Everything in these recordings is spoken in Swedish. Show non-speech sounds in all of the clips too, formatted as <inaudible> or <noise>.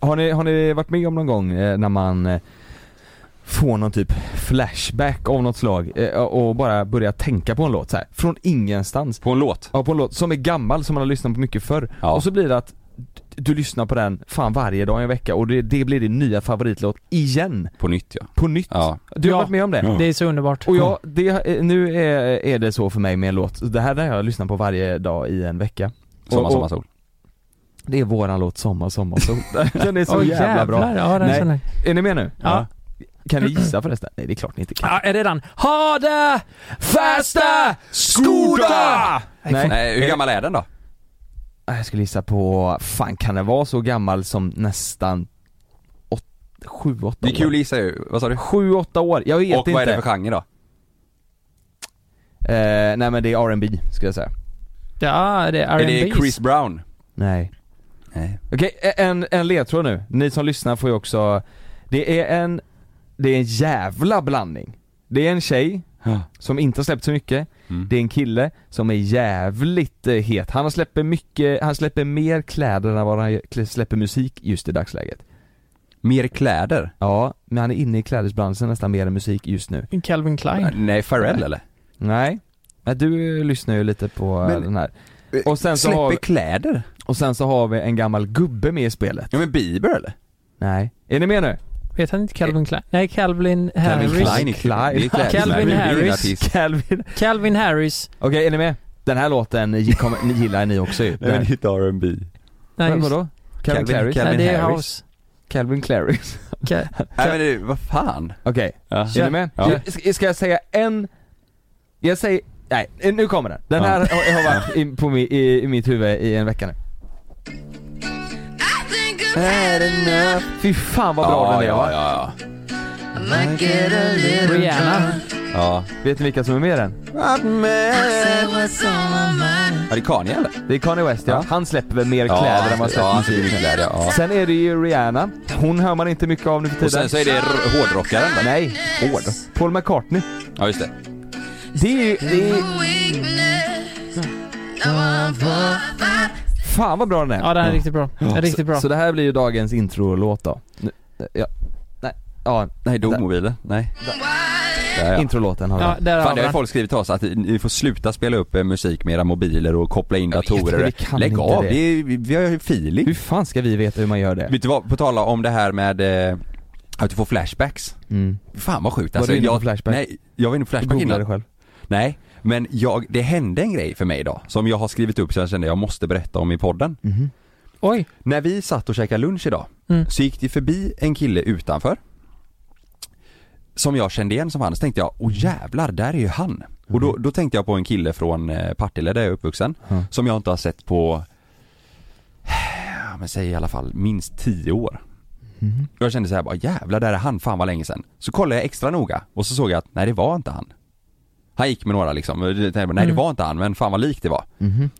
Har ni, har ni varit med om någon gång eh, när man eh, får någon typ flashback av något slag eh, och bara börjar tänka på en låt så här från ingenstans? På en låt? Ja, på en låt som är gammal som man har lyssnat på mycket förr. Ja. Och så blir det att d- du lyssnar på den fan varje dag i en vecka och det, det blir din nya favoritlåt igen, På nytt ja. på nytt. Ja. Du har Ja. varit med om det? Det är så underbart. Och jag, det, eh, nu är, är det så för mig med en låt, det här har jag lyssnat på varje dag i en vecka Sommar, Och- sommar, sol. Det är våran låt Sommar, <laughs> sommarsol, den är så Åh, jävla bra jävlar. Ja, den Nej. känner jag. Är ni med nu? Ja. Kan ni gissa förresten? Nej det är klart ni inte kan Ja, är det den? Ha det! Fästa! Skoda! Nej, Nej, hur gammal är den då? jag skulle gissa på, fan kan den vara så gammal som nästan 7-8 år? Det är kul att gissa ju. Vad sa du? 7-8 år, jag vet Och inte vad är det för genre då? eh, Nej men det är R&B skulle jag säga Ja, det är Är det R&B's. Chris Brown? Nej Nej. Okej, e- en, en ledtråd nu. Ni som lyssnar får ju också, det är en, det är en jävla blandning. Det är en tjej som inte har släppt så mycket, Mm. det är en kille som är jävligt eh, het. Han har släpper mycket, han släpper mer kläder än vad han gör- släpper musik just i dagsläget. Mer kläder? Ja, men han är inne i klädesbranschen nästan mer än musik just nu. Calvin Klein. Äh, Nej, Pharrell eller? Nej, men du lyssnar ju lite på eh, Men- eh, den här. Och sen, så Släpper har, kläder? och sen så har vi en gammal gubbe med i spelet. Ja men Bieber eller? Nej, är ni med nu? <laughs> Vet han inte Calvin Klein? Nej, Calvin Harris. Calvin Klein är Klein. det är kläder. Calvin Det är en Harris. artist. Calvin Calvin Harris. Okej, är ni med? Den här låten gi- kommer- ni gillar ni också ju. Nej men Den- det är inte R&B Nej, Men just- vadå? Calvin Calvin- Claris? Nej, Calvin det är Harris. House. Calvin Claris. Ca- Nej men det, vad fan? Okej, Ja. är ni med? Ja. Jag- ska- Ska jag säga en... Jag säger... Nej, nu kommer den. Den här har, har varit i, på mi, i, i mitt huvud i en vecka nu. Fy fan vad bra den är va? ja, ja, Rihanna. ja. Vet ni vilka som är med i den? Ja, det är Kanye eller? Det är Kanye West ja. Ja. Han släpper väl mer kläder än vad han ja, släpper han släpper musik. mycket kläder, ja. Sen är det ju Rihanna. Hon hör man inte mycket av nu för tiden. Och sen så är det r- hårdrockaren va? Nej, Hård? Paul McCartney. Ja just det. Det är ju... Det är... Fan vad bra den är. Ja, den är riktigt bra. Den är Riktigt bra. Så, så det här blir ju dagens introlåt då. Nu, ja, nej, ja, Nej, dog mobilen? Nej. Där, ja. introlåten har vi. Ja, där har Fan det vi har ju den. folk skrivit till oss att ni får sluta spela upp eh, musik med era mobiler och koppla in Jag vet, men vi datorer. kan Lägg inte av, det. det. är- vi- vi har ju feeling. Hur fan ska vi veta hur man gör det? Vet du vad, på tala om det här med eh, att du får flashbacks. Mm. Fan vad sjukt Var alltså. du inne på jag, flashback? Nej, jag var inne på Du flashback googlade innan. själv. Nej, men jag, det hände en grej för mig idag som jag har skrivit upp så jag kände jag måste berätta om i podden. Oj. När vi satt och käkade lunch idag Mm. så gick det förbi en kille utanför. Som jag kände igen som han, så tänkte jag, åh jävlar, där är ju han. Och då, då tänkte jag på en kille från eh, Partille där jag är uppvuxen, Mm. som jag inte har sett på, ja, men säg i alla fall minst 10 år. Och Jag kände så här bara, jävlar där är han, fan vad länge sedan. Så kollade jag extra noga och så såg jag att, nej det var inte han. Han gick med några liksom, Och jag tänkte, nej det var inte han, men fan vad likt det var. Mm-hmm.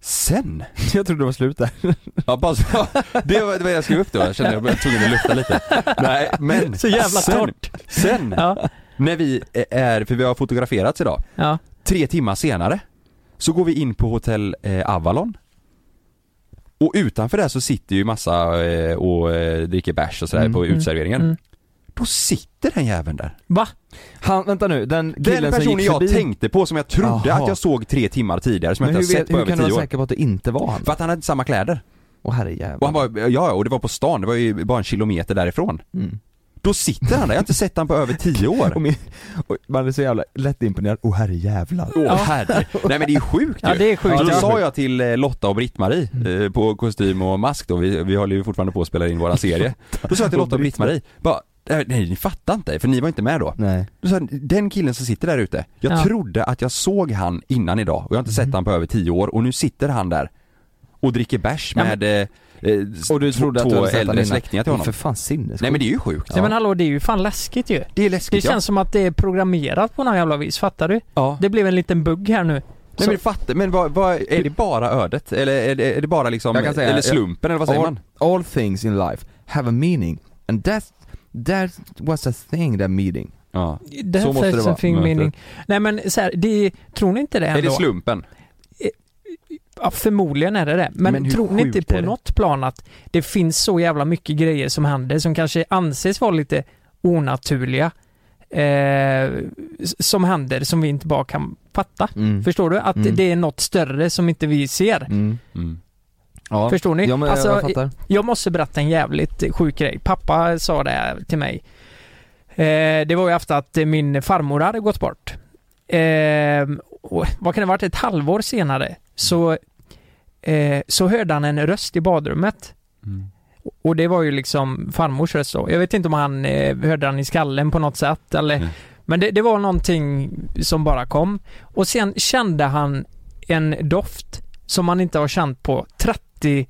Sen <laughs> Jag trodde det var slut där. <laughs> Ja, bara så, <laughs> det var det var jag skrev upp då, jag kände jag var tvungen att lufta lite. Nej <laughs> men. Så jävla sen, torrt. Sen, Ja. när vi är, för vi har fotograferats idag, Ja. tre timmar senare så går vi in på hotell eh, Avalon. Och utanför där så sitter ju massa eh, och eh, dricker bärs och sådär Mm, på utserveringen. Då sitter den jäveln där. Va? Han, vänta nu, den killen Den som personen gick jag förbi. tänkte på som jag trodde Jaha. att jag såg tre timmar tidigare som men jag hur, inte har sett vet, på hur kan över du tio vara år. säker på att det inte var han? För att han hade inte samma kläder. Åh Och han herrejävlar. bara, ja och det var på stan, det var ju bara en kilometer därifrån. Då sitter han där, jag har inte sett han på över tio Mm. <laughs> Och år. min- och Man är så jävla lättimponerad. Åh herrejävlar. Åh herre. Nej men det är sjukt ju. Ja, det är sjukt, Då ja. sa jag till eh, Lotta och Britt-Marie Mm. eh, på kostym och mask då, vi, vi håller ju fortfarande på att spela in våran serie. Då sa jag till Lotta och Britt-Marie, bara, nej ni fattar inte, för ni var inte med då. Nej. Då sa jag, den killen som sitter där ute, jag Ja. Mm. trodde att jag såg han innan idag och jag har inte sett han på över tio år och nu sitter han där och dricker bärs Ja, men- med eh, eh, Och du trodde två att du hade sett han äldre innan. släktingar till honom. För fan sinnessjukt. Nej men det är ju sjukt. Nej men hallå, det är ju fan läskigt ju. Det är Det läskigt ja. känns som att det är programmerat på någon jävla vis, fattar du? Ja. Det blev en liten bugg här nu. Nej men fattar, men vad, vad, är det bara ödet? Eller är det, är det bara liksom, Jag kan säga- eller slumpen eller vad all, säger man? all things in life have a meaning and that that was a thing that meeting. Ja. That's måste det a vara. thing Mm, meaning. Nej men så här, det, tror ni inte det Är ändå? det slumpen? Ja, förmodligen är det det. Men, Men hur tror ni inte sjukt på är det? något plan att det finns så jävla mycket grejer som händer som kanske anses vara lite onaturliga eh, s- som händer som vi inte bara kan fatta? Mm. Förstår du? Att Mm. det är något större som inte vi ser. Mm. Mm. Ja. Förstår ni? Ja, men Alltså, jag fattar. Jag måste berätta en jävligt sjuk grej. Pappa sa det här till mig. Eh, det var ju efter att eh, min farmor hade gått bort. Eh, och, vad kan det ha varit? Ett halvår senare så, eh, så hörde han en röst i badrummet. Mm. Och det var ju liksom farmors röst då. Jag vet inte om han eh, hörde han i skallen på något sätt eller Mm. Men det, det var någonting som bara kom. Och sen kände han en doft som han inte har känt på 30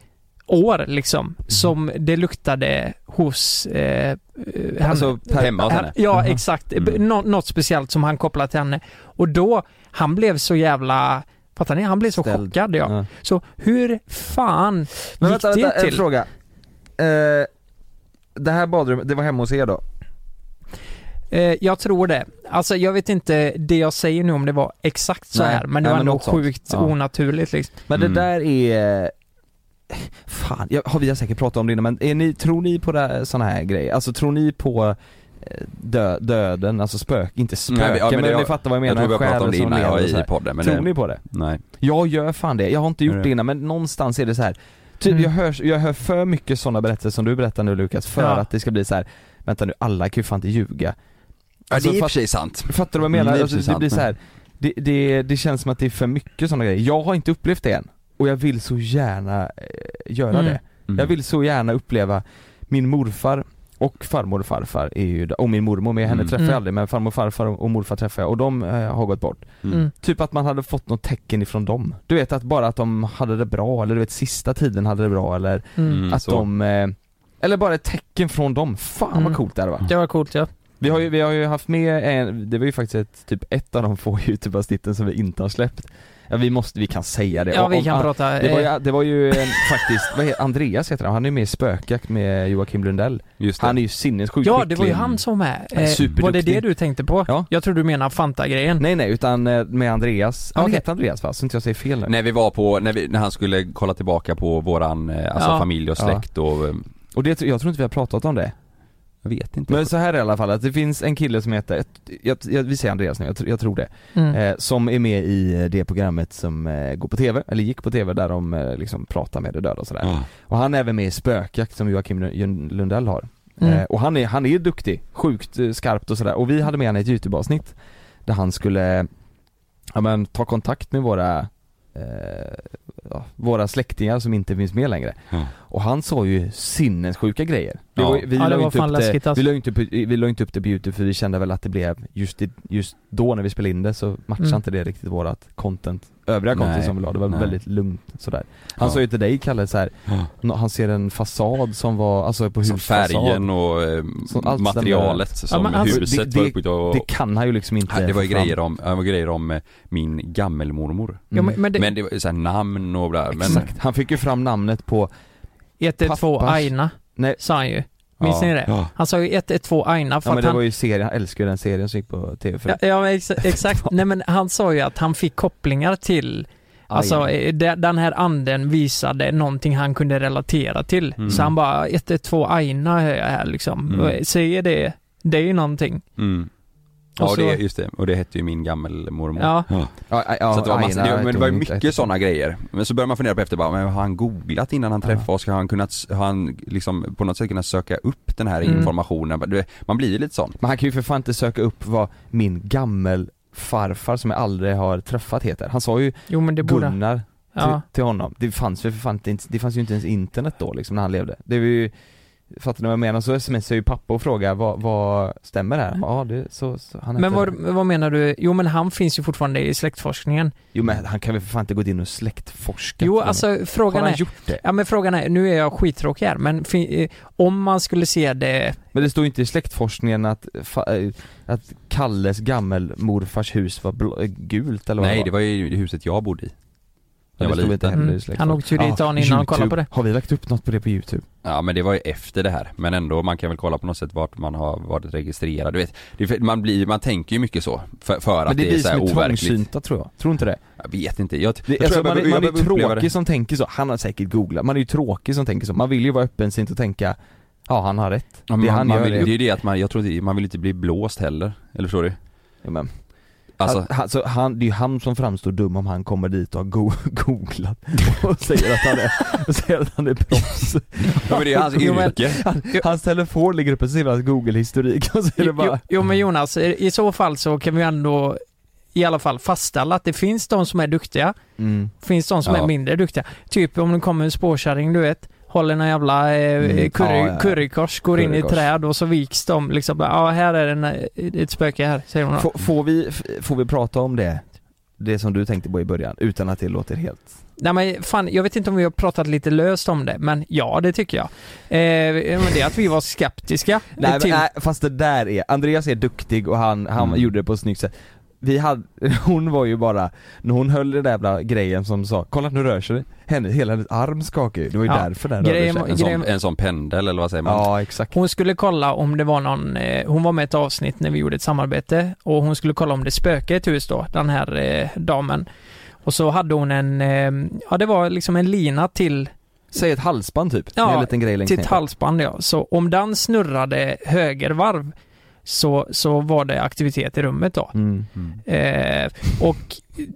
år liksom. Mm. Som det luktade hos eh, eh, henne. Alltså, per- Hemma hos Han- henne? Ja, Aha. exakt. Mm. Nå- något speciellt som han kopplade till henne. Och då, han blev så jävla, fattar ni? Han blev så Ställd. chockad ja. Ja. Så hur fan Men gick vänta, det vänta, en till? fråga. Eh, det här badrummet, det var hemma hos er då? Eh, jag tror det. Alltså jag vet inte det jag säger nu om det var exakt så Nej, här men nej, det var men ändå något sånt. sjukt Ja. onaturligt liksom. Men Mm. det där är... Fan, jag, har vi har säkert pratat om det innan men är ni, tror ni på det här- såna här grejer? Alltså tror ni på eh, dö, döden, alltså spök, inte spöken Nej, men- ja, men men, det- ni fattar vad jag Jag menar? tror vi har pratat själen om det som innan, lever jag och så i här. podden men Tror det, ni på det? Nej. Jag gör fan det, jag har inte Är gjort det? det innan men någonstans är det så här. Typ, Mm. jag, hör, jag hör för mycket sådana berättelser som du berättar nu Lukas för Ja. att det ska bli så här. vänta nu, alla kan ju fan inte ljuga. Ja, det är i och för fatt- sig sant. Fattar du vad jag menar? Mm, det är alltså, precis det blir sant. så här, det, det, det känns som att det är för mycket sådana grejer. Jag har inte upplevt det än och jag vill så gärna eh, göra Mm. det. Mm. Jag vill så gärna uppleva min morfar och farmor och farfar är ju, och min mormor med, henne Mm. träffar Mm. jag aldrig men farmor och farfar och morfar träffar jag och de eh, har gått bort. Mm. Mm. Typ att man hade fått något tecken ifrån dem. Du vet att bara att de hade det bra eller du vet sista tiden hade det bra eller Mm. Mm. att så. de eh, eller bara ett tecken från dem. Fan Mm. vad coolt det hade varit. Det var coolt ja. Vi har ju, vi har ju haft med en, det var ju faktiskt ett, typ ett av de få <laughs> youtube-avsnitten som vi inte har släppt Ja vi måste, vi kan säga det Ja Om- vi kan om- prata. det var, eh, ju, det var ju en, faktiskt, vad heter, Andreas heter han, han är ju med i Spökjakt med Joakim Lundell Just det. Han är ju sinnessjukt ja det var ju skicklig. han som med. är Eh, var det superduktig. det du tänkte på? Ja. Jag tror du menar Fanta-grejen. Nej nej, utan eh, med Andreas, han Okej. heter Andreas va? Så inte jag säger fel nu När vi var på, när, vi, när han skulle kolla tillbaka på våran, eh, alltså Ja. familj och Ja. släkt och, eh, Och det, jag tror inte vi har pratat om det jag vet inte. Men så här är det i alla fall, att det finns en kille som heter, jag, jag, vi säger Andreas nu, jag, tr- jag tror det Mm. eh, Som är med i eh, det programmet som eh, går på TV, eller gick på TV där de eh, liksom pratar med de döda och sådär Ja. Och han är även med i Spökjakt som Joakim Lund- Lundell har. Mm. Eh, och han är, han är duktig, sjukt eh, skarpt och sådär. Och vi hade med honom i ett YouTube-avsnitt där han skulle, eh, ja men ta kontakt med våra, eh, ja, våra släktingar som inte finns med längre. Ja. Och han sa ju sinnessjuka grejer. Det Ja. var, ju- vi Ja, det la ju var inte fan upp det- läskigt, alltså. vi la ju inte upp- vi la ju inte upp det på YouTube för vi kände väl att det blev, just, i, just då när vi spelade in det så matchade Mm. inte det riktigt vårat content, övriga content Nej. som vi la. Det var Nej. väldigt lugnt sådär. Han Ja. sa ju till dig Kalle så här Ja. Nå- Han ser en fasad som var, alltså på Som husfasad färgen och eh, Så allt materialet som men alltså, huset det- var uppbyggt och, Det kan han ju liksom inte det var ju få fram. grejer om, det var grejer om eh, min gammelmormor. ja, men, men det, Men det var ju såhär namn och bla, men, Exakt, han fick ju fram namnet på, 112 pappas- Aina nej sa han ju. Minns ja. ni det? Ja. Han sa ju 112 Aina för Ja men att det han... var ju serien, jag älskar ju den serien som gick på tv för Ja, ja men ex exakt. <laughs> Nej men han sa ju att han fick kopplingar till, alltså eh, de- den här anden visade någonting han kunde relatera till. Mm. Så han bara 112 Aina hör jag här liksom. Mm. Och Säger det, det är ju någonting. Mm. Och Ja så- det, just det, och det hette ju min gammelmormor. Ja. ja, ja, Så att det var massa, Aina det, men det var ju tog inte- mycket sådana grejer. Men så börjar man fundera på efter bara, men har han googlat innan han träffade oss? Har han kunnat, har han liksom på något sätt kunnat söka upp den här Mm. informationen? Du vet, Man blir ju lite sån. Men han kan ju för fan inte söka upp vad min gammel farfar som jag aldrig har träffat heter. Han sa ju Jo men det borde han. Gunnar Ja. till, till honom. Det fanns ju för fan inte, ens- det fanns ju inte ens internet då liksom när han levde. Det var ju, fattar ni vad jag menar? Så smsar ju pappa och frågar vad, vad stämmer det här? Ja det, så, så han Men heter vad, det. vad menar du? Jo men han finns ju fortfarande i släktforskningen. Jo men han kan väl för fan inte gått in och släktforskat? Jo med mig? alltså Har frågan han är, gjort det? ja men frågan är, nu är jag skittråkig här men fi- eh, om man skulle se det, Men det står ju inte i släktforskningen att, fa- eh, att Kalles gammelmorfars hus var blå, eh, gult eller vad Nej det var ju det huset jag bodde i. det Jag var stod inte liten. heller i Mm. släktforskningen. Ah, han åkte ju dit dagen innan och kollade på det. Har vi lagt upp något på det på youtube? Ja men det var ju efter det här, men ändå man kan väl kolla på något sätt vart man har varit registrerad, du vet. Det, är för- man, blir, man tänker ju mycket så, för, för Men att det, det, blir är så här som är overkligt. trångsynta tror jag, tror inte det? Jag vet inte, jag, jag det tror alltså, jag man, behöver- är- jag man är behöver uppleva det. tråkig som tänker så, han har säkert googlat, man är ju tråkig som tänker så, man vill ju vara öppen sint och tänka Ja han har rätt, Ja, men det man, han man gör vill, det är är ju det att man, jag tror inte, man vill inte bli blåst heller, eller förstår du? ja, men, Alltså, <laughs> han, han, så han, det är ju han som framstår dum om han kommer dit och har go- <laughs> googlat och säger att han är, och säger att han är proffs ja, men det är hans <laughs> Jo, men- yrke. han, Hans telefon ligger uppe och ser hans google-historik och så är det Jo, bara jo men Jonas, i i så fall så kan vi ändå i alla fall fastställa att det finns de som är duktiga, mm. finns de som Ja. är mindre duktiga. Typ om det kommer en spårkärring du vet, håller någon jävla eh, Mm. curry, Ja, ja, ja. currykors, går in i Currykors. träd och så viks de liksom. bara, Ja, här är den, eh, ett spöke här, säger hon. då. Får- får, vi, f- får vi prata om det? Det som du tänkte på i början, utan att det låter helt Nej men fan, jag vet inte om vi har pratat lite löst om det, men ja det tycker jag. Eh, men det är att vi var skeptiska. <laughs> Nej, men, till, nej fast det där är, Andreas är duktig och han, han Mm. gjorde det på ett snyggt sätt Vi hade, <laughs> hon var ju bara, när hon höll den där jävla grejen som sa 'Kolla nu rör sig' henne, hela hennes arm skakade ju, det var ju Ja. därför den rörde Grejen sig var- En sån, grejen- en sån pendel eller vad säger man? Ja exakt Hon skulle kolla om det var någon, eh, hon var med i ett avsnitt när vi gjorde ett samarbete och hon skulle kolla om det spökade i ett hus då, den här eh, damen. Och så hade hon en, eh, ja det var liksom en lina till, Säg ett halsband typ, Ja, med en liten grej längst till ner ett halsband ja. Så om den snurrade högervarv så, så var det aktivitet i rummet då. mm. Mm. Eh, och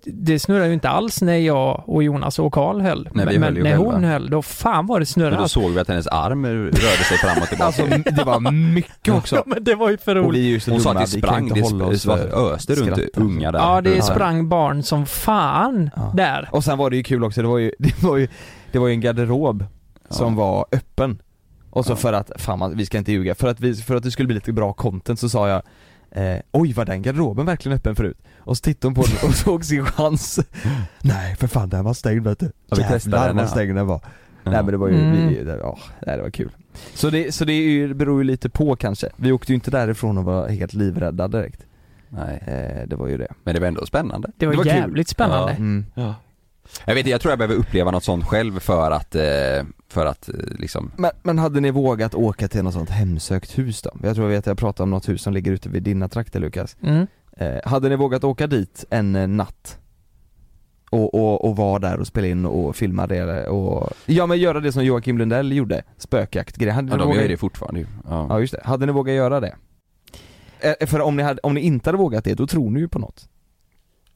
det snurrade ju inte alls när jag och Jonas och Karl höll. Nej, vi men höll ju när själva. hon höll, då fan var det Men snurrat. då såg vi att hennes arm rörde sig fram och tillbaka. Alltså <laughs> det var mycket Ja också <laughs> men det var ju för Och roligt. vi är ju så Hon sa dumma, att det vi kan sprang, inte det hålla oss sp- för- öste runt skratt. unga där. Ja det Ja. sprang barn som fan Ja. där. Och sen var det ju kul också, det var ju, <laughs> det var ju, det var ju en garderob som var öppen Och så Ja. för att, fan man, vi ska inte ljuga, för att, vi, för att det skulle bli lite bra content så sa jag eh, Oj var den garderoben verkligen öppen förut? Och så tittade hon på den och <laughs> såg sin chans Nej för fan den var stängd vet du Ja, vi testade Jävlar den, vad ja. stängd den var Ja. Nej men det var ju, Mm. vi, det, ja, nej, det var kul Så det, så det är ju, beror ju lite på kanske, vi åkte ju inte därifrån och var helt livrädda direkt Nej, eh, Det var ju det men det var ändå spännande. Det var, Det var kul. jävligt spännande. mm. Jag vet inte, jag tror jag behöver uppleva något sånt själv för att, eh, för att eh, liksom Men, men hade ni vågat åka till något sånt hemsökt hus då? Jag tror jag vet att jag pratade om något hus som ligger ute vid dina trakter Lukas Mm. eh, Hade ni vågat åka dit en eh, natt? Och, och, och vara där och spela in och filma det och Ja men göra det som Joakim Lundell gjorde, spökjakt grej. Hade Ja ni de vågat... gör ju det fortfarande ju. Ja. Ja just det, hade ni vågat göra det? Eh, För om ni, hade, om ni inte hade vågat det, då tror ni ju på något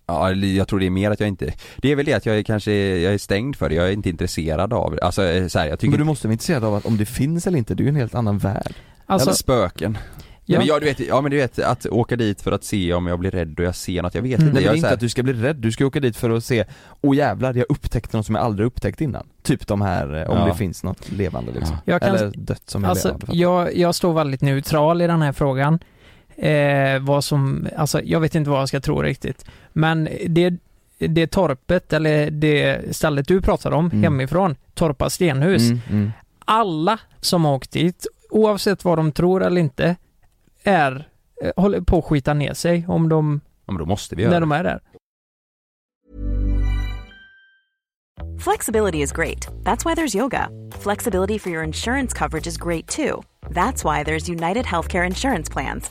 ja, eller jag tror det är mer att jag inte, det är väl det att jag är kanske, jag är stängd för det, jag är inte intresserad av det. Alltså eh, så här, jag tycker Men du måste väl inte säga av att om det finns eller inte, det är ju en helt annan värld Alltså, Eller spöken. Ja. Men jag, du vet, ja men du vet, att åka dit för att se om jag blir rädd och jag ser något, jag vet Mm. Nej inte. men det är jag är så inte här- att du ska bli rädd, du ska åka dit för att se Åh jävlar, jag upptäckte något som jag aldrig upptäckt innan Typ de här, eh, om Ja. det finns något levande liksom jag, kan, Eller dött som är alltså, levande jag, jag står väldigt neutral i den här frågan. Eh, vad som, alltså, jag vet inte vad jag ska tro riktigt. Men det, det torpet, eller det stället du pratar om Mm. hemifrån, Torpa stenhus. Mm, mm. Alla som har åkt dit, oavsett vad de tror eller inte, är, eh, håller på att skita ner sig om de, Ja, men då måste vi göra när det. de är där. Flexibility is great. That's why there's yoga. Flexibility for your insurance coverage is great too. That's why there's United Healthcare Insurance Plans.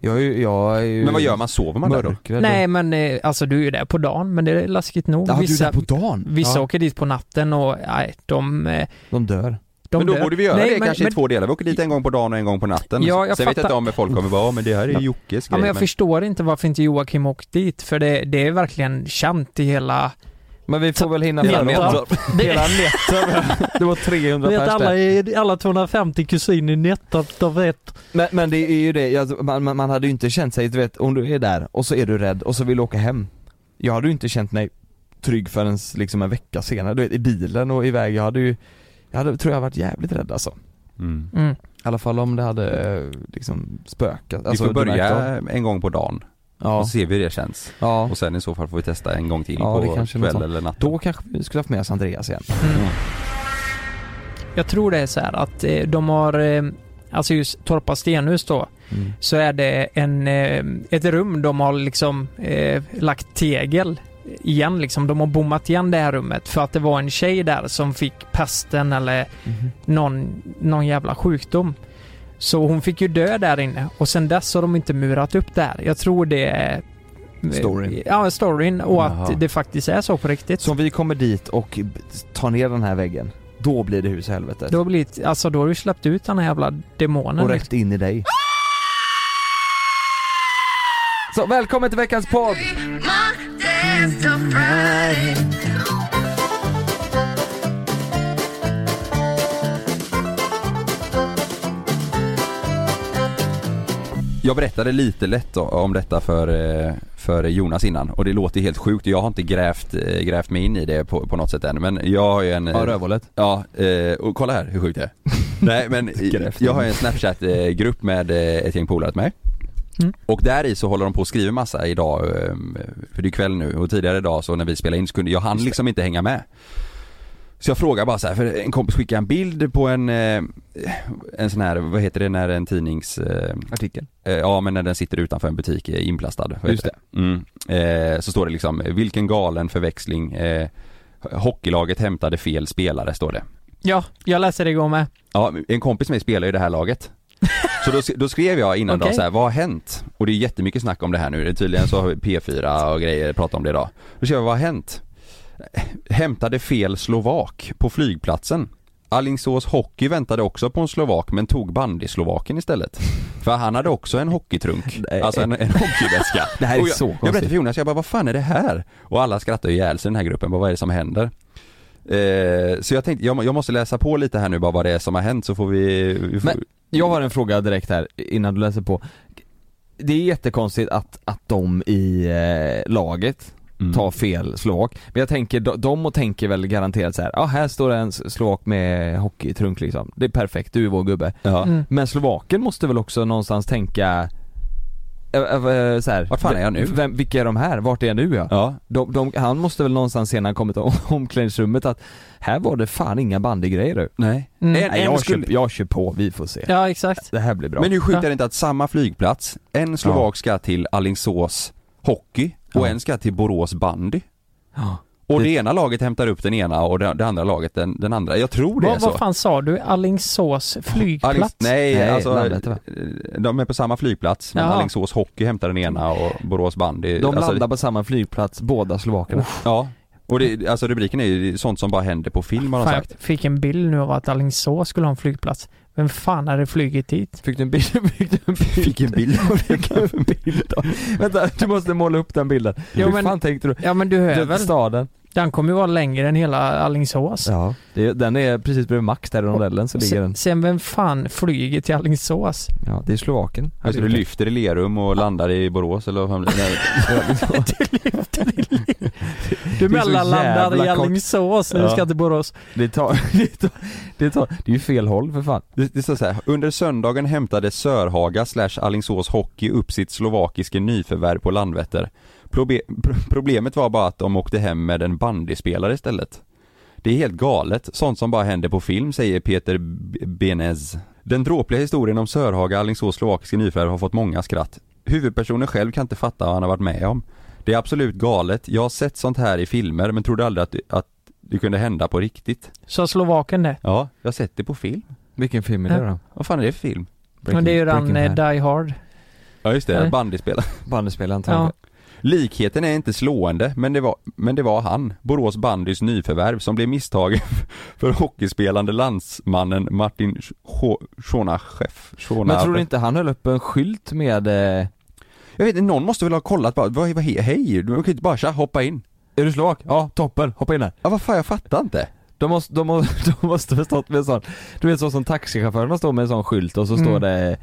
Jag är ju, jag är ju men vad gör man? Sover man där då? Mörkrädd Nej men eh, alltså du är ju där på dagen men det är läskigt nog. vissa på dagen? vissa ja, åker dit på natten och nej, de, eh, De dör de men då dör. borde vi göra nej, det kanske i två delar, vi åker dit en gång på dagen och en gång på natten Ja, jag Sen vet jag inte fattar. om folk kommer bara, "Ja, men det här är ju Jockes Ja, grej men jag förstår inte varför inte Joakim åkt dit för det, det är verkligen känt i hela... Men vi får väl hinna Hela med dem <laughs> Hela nätter, det var 300 Vet pers där. alla, alla 250 kusiner i Nettat, de vet. Men, men det är ju det, jag- man, man man hade ju inte känt sig, du vet om du är där och så är du rädd och så vill du åka hem Jag hade ju inte känt mig trygg förrän liksom en vecka senare, du vet i bilen och iväg, jag hade ju Jag hade, tror jag varit jävligt rädd alltså Mm. Mm. I alla fall om det hade eh, liksom spökat Vi alltså, får du märkte av. börja en gång på dagen, och Ja, så ser vi hur det känns ja. Och sen i så fall får vi testa en gång till Ja, det på kanske är något kväll sånt. eller natt Då kanske vi skulle haft med oss Andreas igen Mm. Jag tror det är så här att eh, de har, eh, alltså just Torpa stenhus då, så är det en, eh, ett rum de har liksom eh, lagt tegel igen liksom. De har bommat igen det här rummet för att det var en tjej där som fick pesten eller Mhm. någon, någon jävla sjukdom. Så hon fick ju dö där inne och sen dess har de inte murat upp det här. Jag tror det är... eh, Storyn. Ja, storyn och Jaha. att det faktiskt är så på riktigt. Så om vi kommer dit och b- tar ner den här väggen, då blir det hus i helvetet. Då har blivit, alltså då har du släppt ut den här jävla demonen. och rätt in i dig. Så välkommen till veckans podd! Jag berättade lite lätt o- om detta för, eh, för Jonas innan och det låter helt sjukt jag har inte grävt, eh, grävt mig in i det på, på något sätt än men jag har ju en... Ja, rövhålet. Ja, eh, och kolla här hur <laughs> sjukt det är. Nej men Grävt in. jag har ju en Snapchat-grupp med eh, ett gäng polare till mig. Mm. Och där i så håller de på att skriva massa idag, eh, för det är kväll nu och tidigare idag så när vi spelade in så kunde jag han liksom inte hänga med. Så jag frågar bara så här, för en kompis skickade en bild på en, eh, en sån här, vad heter det när en tidnings... eh, Artikel. Eh, Ja men när den sitter utanför en butik eh, inplastad. Vad Just heter Mm. Eh, så står det liksom, vilken galen förväxling. Eh, hockeylaget hämtade fel spelare står det. Ja, jag läste det igår med. Ja, en kompis med mig spelar ju det här laget. Så då, då skrev jag innan Okej. då så här, vad har hänt? Och det är jättemycket snack om det här nu, Det är tydligen så har P4 och grejer pratat om det idag. Då skrev jag, vad har hänt? Hämtade fel slovak på flygplatsen. Alingsås Hockey väntade också på en slovak men tog bandyslovaken istället. För han hade också en hockeytrunk, Nej. alltså en, en hockeyväska. Det här är Och jag, så Jag berättade konstigt. för Jonas, jag bara vad fan är det här? Och alla skrattade ihjäl sig i den här gruppen, bara, vad är det som händer? Eh, så jag tänkte, jag, må- jag måste läsa på lite här nu bara vad det är som har hänt så får vi, vi får, Men- Jag har en fråga direkt här innan du läser på. Det är jättekonstigt att, att de i eh, laget Mm. tar fel slovak. Men jag tänker, de, de och tänker väl garanterat så här, ja ah, här står det en s- slovak med hockeytrunk liksom. Det är perfekt, du är vår gubbe. Ja. Mm. Men Slovaken måste väl också någonstans tänka eh, eh, så här, Vart fan är jag nu? Vem, vilka är de här? Vart är jag nu ja? Ja, De, de, han måste väl någonstans senare kommit om, <laughs> omklädningsrummet att här var det fan inga bandygrejer du. nej. Mm. En, Nej, en jag, skulle, kör, jag kör på, vi får se. Ja, exakt. Det här blir bra. men hur sjukt Ja. är det inte att samma flygplats, en slovak ska till Alingsås Hockey och Ja. en ska till Borås Bandy. Ja. Och det, Det- ena laget hämtar upp den ena och det, det andra laget den, den andra. Jag tror det är Vad, så. vad fan sa du? Alingsås flygplats? Alings, nej, Nej, alltså, eh, landet, va? de är på samma flygplats men Jaha. Alingsås Hockey hämtar den ena och Borås Bandy. De alltså, landar på samma flygplats, båda slovakerna. Ja, och det, alltså rubriken är ju sånt som bara händer på film har de Fan, sagt. jag fick en bild nu av att Alingsås skulle ha en flygplats. Vem fan hade flugit dit? Fick du en bild? <laughs> Fick du en bild? Fick en bild? <laughs> Fick en bild då. Vänta, du måste måla upp den bilden. Jo, hur men- fan tänkte du? Ja men du hör Den väl? staden. Den kommer ju vara längre än hela Alingsås. Ja. Det, den är precis bredvid Max där i rondellen så ligger den. sen, sen vem fan flyger till Alingsås? Ja, det är Slovaken. Alltså du lyfter i Lerum och landar i Borås eller vad fan blir det? Du Det är så mellanlandar i jävla kort. Alingsås när du Ja. ska till Borås. Det tar, <laughs> det tar, det tar, det är ju fel håll för fan. Det, det står så här, under söndagen hämtade Sörhaga slash Alingsås Hockey upp sitt slovakiska nyförvärv på Landvetter. Probe- pro- problemet var bara att de åkte hem med en bandyspelare istället. Det är helt galet, sånt som bara händer på film säger Peter B- Benez. Den dråpliga historien om Sörhaga, Alingsås slovakiska nyförvärv har fått många skratt. Huvudpersonen själv kan inte fatta vad han har varit med om. Det är absolut galet, jag har sett sånt här i filmer men trodde aldrig att, att det kunde hända på riktigt. Så slovaken det. Ja, jag har sett det på film. Vilken film är det då? Vad fan är det för film? Men det är ju den eh, Breaking Bad. Die Hard. Ja just det, Nej. bandyspelare. Bandespelare antagligen. Ja. Likheten är inte slående, men det var, men det var han, Borås bandys nyförvärv, som blev misstagen <laughs> för hockeyspelande landsmannen Martin Schonacheff. Men tror du inte han höll upp en skylt med, eh, Jag vet inte, någon måste väl ha kollat bara, vad, vad, hej, du kan ju inte bara tja, hoppa in. är du slovak? Ja, toppen, hoppa in här. Ja vad fan, jag fattar inte. De måste, de måste, <laughs> de måste ha stått med en sån, du vet så som taxichaufförerna står med en sån skylt och så Mm. står det eh,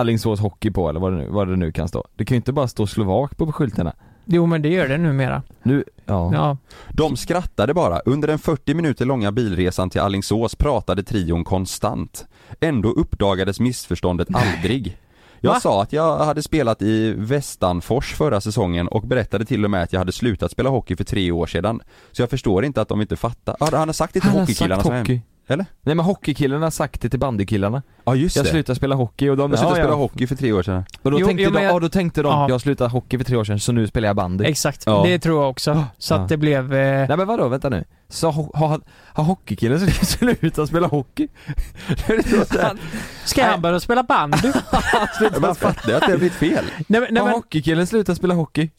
Alingsås hockey på eller vad det, nu, vad det nu kan stå. Det kan ju inte bara stå slovak på skyltarna. Jo men det gör det numera. Nu, ja. Ja. De skrattade bara. Under den 40 minuter långa bilresan till Allingsås pratade trion konstant. Ändå uppdagades missförståndet aldrig. Jag Va? sa att jag hade spelat i Västanfors förra säsongen och berättade till och med att jag hade slutat spela hockey för tre år sedan. Så jag förstår inte att de inte fattar. Ja, han har sagt det till Han har hockeykillarna sagt som är hem. hockey. Eller? Nej men hockeykillarna har sagt det till bandykillarna. Ja just Jag det. slutade spela hockey och de, jag slutade ja, spela ja. hockey för tre år sedan. Och då Jo, tänkte jo, men de, jag- ja då tänkte de, Ja. jag slutade hockey för tre år sedan så nu spelar jag bandy. Exakt, Ja. det tror jag också. Så Ja. att det blev... Eh, Nej men vadå, vänta nu. Så ho- har ha, ha hockeykillen slutat <laughs> spela hockey? Det är så här. ska han börja <laughs> spela bandy? Man fattar ju att det har blivit fel. nej, men- nej Har men, hockeykillen slutat spela hockey?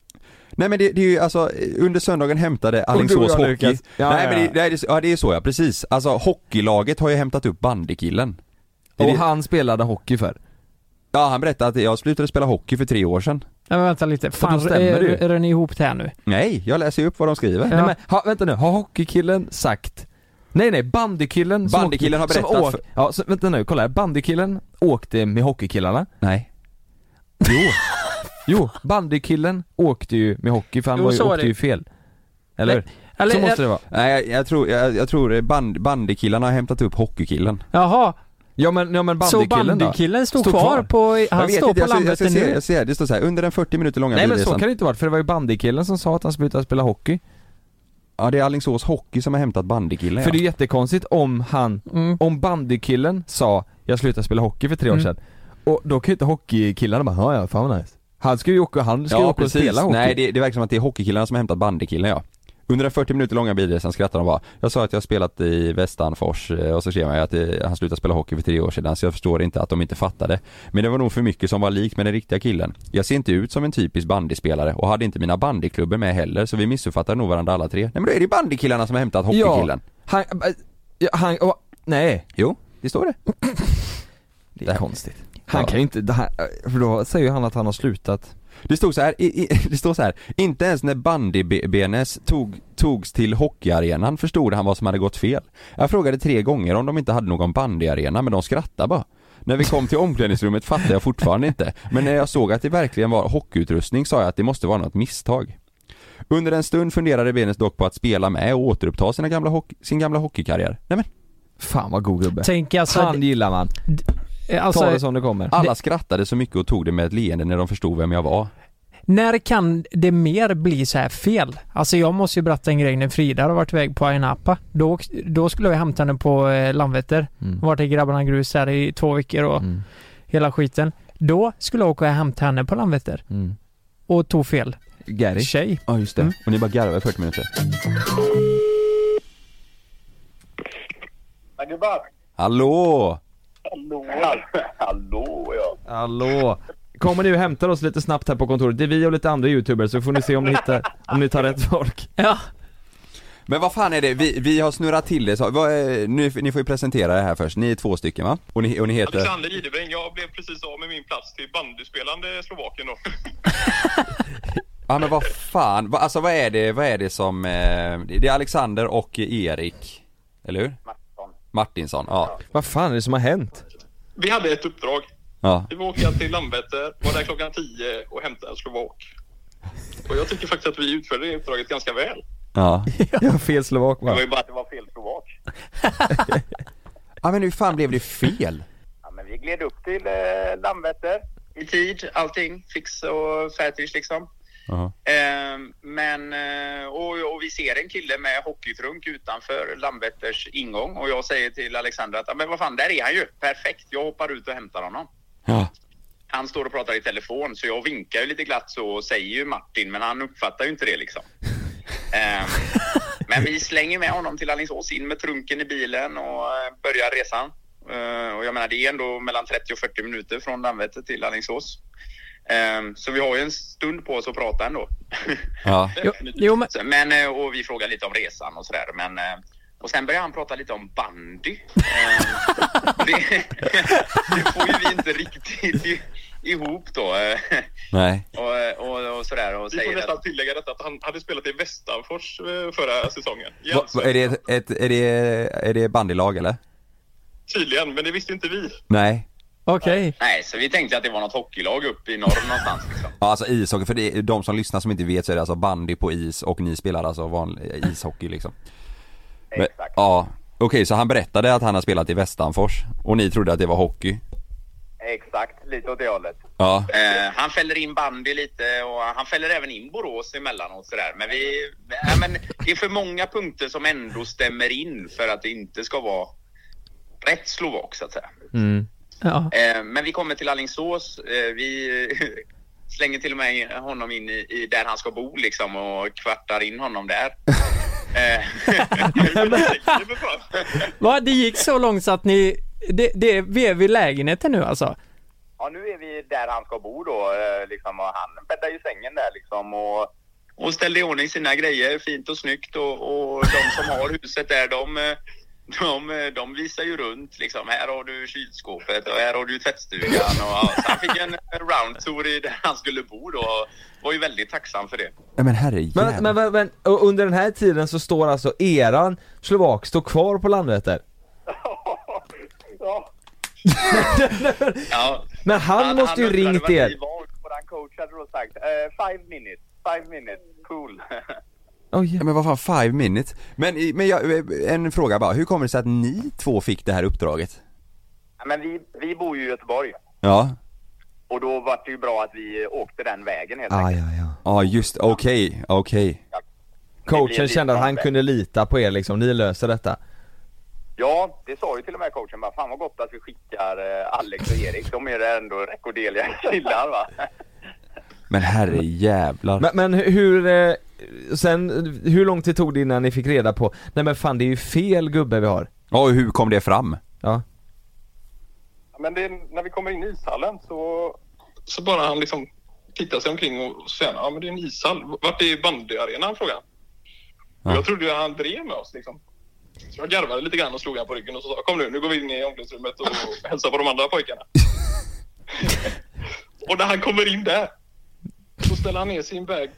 Nej men det, det är ju alltså, under söndagen hämtade Och du Alingsås då, hockey. Lukas? Ja, nej ja, men ja. det, nej, det, ja, det är så ja, precis. Alltså hockeylaget har ju hämtat upp bandykillen. Det är Och det- han spelade hockey för. Ja han berättade att jag slutade spela hockey för tre år sedan. nej, men vänta lite. Fan, stämmer det ju. är, är den ihop det här nu? Nej, jag läser ju upp vad de skriver. Ja. Nej men, ha, vänta nu, har hockeykillen sagt Nej nej, bandykillen som Bandykillen åkte- har berättat som åk, Ja, så, vänta nu, kolla här. Bandykillen åkte med hockeykillarna Nej. <laughs> Jo Jo, bandykillen åkte ju med hockey för han Jo, var ju, så var åkte det. ju fel Eller hur? Eller, Så måste det vara Nej jag, jag tror, jag, jag tror band, bandykillarna har hämtat upp hockeykillen. Jaha, Ja men, ja, men så bandykillen då? bandykillen stod, Stod kvar kvar. på... Han jag vet står inte, på jag, ser- jag, Landvetter ska se, nu? jag ser, det står så här, under den 40 minuter långa Nej men så bilresan. kan det inte varit för det var ju bandykillen som sa att han slutade spela hockey Ja det är Alingsås hockey som har hämtat bandykillen För det är ja. ju jättekonstigt om han, Mm. om bandykillen sa 'Jag slutade spela hockey för tre år Mm. sedan' Och då kan ju inte hockeykillarna bara 'Ja ja, fan vad nice' Han ska ju åka, han ska ju åka Ja och precis, spela hockey nej det, det verkar som att det är hockeykillarna som har hämtat bandykillen ja. Under den 40 minuter långa bilresan skrattade de bara. Jag sa att jag spelat i Västanfors eh, och så skrev jag att eh, han slutade spela hockey för tre år sedan så jag förstår inte att de inte fattade. Men det var nog för mycket som var likt med den riktiga killen. Jag ser inte ut som en typisk bandyspelare och hade inte mina bandyklubbor med heller så vi missuppfattade nog varandra alla tre. Nej men då är det ju bandykillarna som har hämtat hockeykillen. Han, ja, han, åh, nej. Jo, det står det. Det är konstigt. Han Ja. kan ju inte, det här, Äh, för då säger ju han att han har slutat. Det stod så här, i, <laughs> i, det står så här. Inte ens när bandybenes tog, togs till hockeyarenan förstod han vad som hade gått fel. Jag frågade tre gånger om de inte hade någon bandyarena, men de skrattade bara. När vi kom till omklädningsrummet fattade jag fortfarande inte, men när jag såg att det verkligen var hockeyutrustning sa jag att det måste vara något misstag. Under en stund funderade Benes dock på att spela med och återuppta sina gamla hockey, sin gamla hockeykarriär. Nej men, Fan vad god gubbe. Tänk alltså... han gillar man. Ta det alltså som det kommer. alla skrattade så mycket och tog det med ett leende när de förstod vem jag var. när kan det mer bli så här fel? Alltså jag måste ju berätta en grej när Frida har varit iväg på Ayia Napa. Då, då skulle jag hämta henne på eh, Landvetter. Mm. Vart i Grabbarna Grus här i två veckor och Mm. hela skiten. Då skulle jag åka och hämta henne på Landvetter Mm. och tog fel Gary. tjej. Ja just det. Mm. Och ni bara garvade i 40 minuter. Men gubbar! Hallå! Hallå! <laughs> Hallå ja! Hallå. Kommer ni och hämtar oss lite snabbt här på kontoret? Det är vi och lite andra youtubers så får ni se om ni hittar, om ni tar rätt folk. Ja. Men vad fan är det, vi, vi har snurrat till det så, vad, är- ni, ni får ju presentera det här först, ni är två stycken va? Och ni, och ni heter? Alexander Idebring, jag blev precis av med min plats till bandyspelande Slovakien <laughs> då. Ja men vad fan, va, alltså vad är det, vad är det som, eh, det är Alexander och Erik, eller hur? Martinsson, ja. Vad fan är det som har hänt? Vi hade ett uppdrag. ja. Vi var åka till Landvetter, var där klockan 10 och hämta en slovak. Och jag tycker faktiskt att vi utförde det uppdraget ganska väl. Ja. Jag har fel slovak va? ju bara att det var fel slovak. Ja men hur fan blev det fel? Ja, men vi gled upp till eh, Landvetter i tid, allting fix och färdigt liksom. Jaha. Ehm, men, eh, och, och vi ser en kille med hockeytrunk utanför Landvetters ingång och jag säger till Alexander att "Ja, men vad fan, där är han ju. Perfekt. Jag hoppar ut och hämtar honom. Ja. Han står och pratar i telefon så jag vinkar ju lite glatt så och säger ju Martin men han uppfattar ju inte det liksom. Ehm, men vi slänger med honom till Alingsås, in med trunken i bilen och eh, börjar resan. Eh, och jag menar det är ändå mellan 30 och 40 minuter från Landvetter till Alingsås. Ehm, så vi har ju en stund på oss att prata ändå. <laughs> Ja. Jo, jo, men- Så- men... eh, och vi frågar lite om resan och sådär. Men, eh, och sen börjar han prata lite om bandy. Eh, det, det får ju vi inte riktigt i- ihop då. Eh, Nej. Och, och, och sådär. Och Vi får säger nästan att, tillägga detta att han hade spelat i Västanfors eh, förra säsongen. I Va, va, är, Allsvenskan. det ett, ett, är, det, är det bandylag eller? Tydligen, men det visste inte vi. Nej. Okej. nej, så vi tänkte att det var något hockeylag uppe i norr någonstans. Liksom. Ja, alltså ishockey, för det, är- de som lyssnar som inte vet så är det alltså bandy på is och ni spelar alltså vanlig ishockey liksom. Men- Exakt. Ja. Okej, så han berättade att han har spelat i Västanfors och ni trodde att det var hockey? Exakt, lite åt det hållet. Ja. Eh, han fäller in bandy lite och han fäller även in Borås emellanåt sådär. Men, vi, nej, men det är för många punkter som ändå stämmer in för att det inte ska vara rätt slovak så att säga. Mm. Ja. Eh, men vi kommer till Alingsås. Eh, vi <laughs> slänger till och med in- honom in i, i där han ska bo liksom och kvartar in honom där. Eh, <laughs> Va, det gick så långt så att ni... Det, det, vi är vid lägenheten nu alltså? Ja, nu är vi där han ska bo då, eh, liksom, och han bäddar ju sängen där liksom. Och, och ställde i ordning sina grejer fint och snyggt och, och de som har huset där, de, eh, de, eh, de visar ju runt liksom. Här har du kylskåpet och här har du tvättstugan. Och, ja, så han fick en roundtour i där han skulle bo då och var ju väldigt tacksam <laughs> för det. Nej, Men herre Men, men, men, men och under den här tiden så står alltså eran slovak står kvar på Landvetter? Ja. Men han måste ju undrade ringt vad vi er. var, Våran coach hade då sagt eh, five minutes, five minutes, cool. <laughs> Oh, Ja, men vad fan, five minutes? Men, i- men jag, eh, en fråga bara, hur kommer det sig att ni två fick det här uppdraget? Ja, Men vi, vi bor ju i Göteborg. Ja, Och då var det ju bra att vi åkte den vägen helt Ah, enkelt. ja, ja. ja just, okej, okej. Det blir Coachen en kände att han liten kunde lita på er liksom, ni löser detta. Ja, det sa ju till och med coachen bara, fan vad gott att vi skickar eh, Alex och Erik, de är det ändå rekorddeliga killar va. Men herre jävlar. Men, men hu- hur, eh, sen, hur lång tid tog det innan ni fick reda på, nej men fan det är ju fel gubbe vi har? Ja, och hur kom det fram? Ja. Men det, när vi kommer in i ishallen så... Så bara han liksom tittar sig omkring och säger ja men det är en ishall. Vart är bandyarenan? frågar han. Ja. Och jag trodde ju han drev med oss liksom. Så jag garvade lite grann och slog han på ryggen och så sa kom nu, nu går vi in i omklädningsrummet och hälsar på de andra pojkarna. och när han kommer in där så ställer han ner sin bag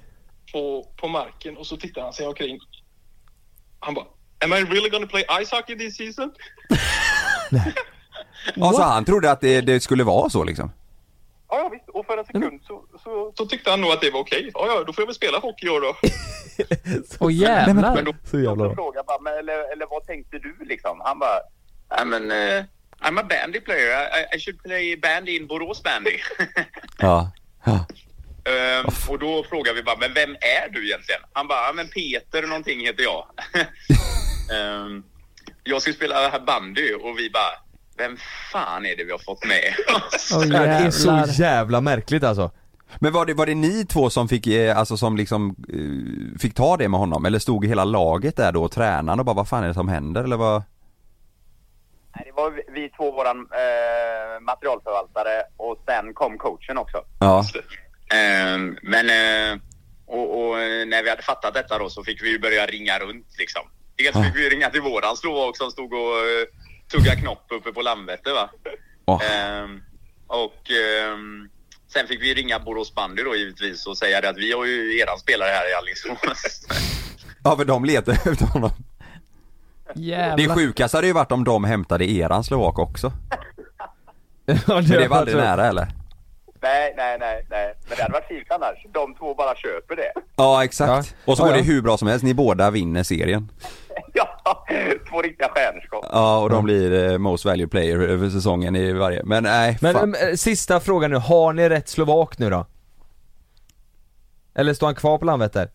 på, på marken och så tittar han sig omkring. Han bara Am I really gonna play ice hockey this season? Alltså han trodde att det, det skulle vara så liksom. Ja, ja visst. Och för en sekund så, så, så tyckte han nog att det var okej. Ja, ja, då får jag väl spela hockey i år då. Åh Men jävlar! då, Så jävla Så frågade bara, men, eller, eller vad tänkte du liksom? Han bara, nej men eh, I'm a bandy player, I- I, I should play bandy in <laughs> Borås bandy. Ja. ja. Ehm, och då frågar vi bara, men vem är du egentligen? Han bara, ja, men Peter någonting heter jag. <laughs> Ehm, jag ska spela bandy och vi bara, vem fan är det vi har fått med <laughs> oss? Åh Det är så jävlar! jävla märkligt alltså. Men var det, var det ni två som fick, eh, alltså som liksom, eh, fick ta det med honom? Eller stod hela laget där då och tränaren och bara vad fan är det som händer eller vad? Nej, det var vi- vi två, våran eh, materialförvaltare och sen kom coachen också. Ja. Ehm, men eh, och, och eh, när vi hade fattat detta då så fick vi ju börja ringa runt liksom. Dels fick vi ju ringa till våran slovak som stod och eh, tugga knopp uppe på Landvetter va. Åh. Ehm, och ehm, sen fick vi ringa Borås bandy då givetvis och säga det att vi har ju eran spelare här i Alingsås. Ja för de letade <laughs> efter honom. Det Jävlar. sjukaste hade ju varit om de hämtade eran slovak också. <laughs> Ja, Men det var aldrig nära eller? <laughs> nej, nej, nej, nej. Men det hade varit fint annars. De två bara köper det. Ja exakt. Ja. Och så Ja, går det ja. hur bra som helst, ni båda vinner serien. <laughs> ja, två riktiga stjärnskott. Ja och de blir eh, most value player över säsongen i varje, men nej Men fan. eh, sista frågan nu, har ni rätt slovak nu då? Eller står han kvar på Landvetter?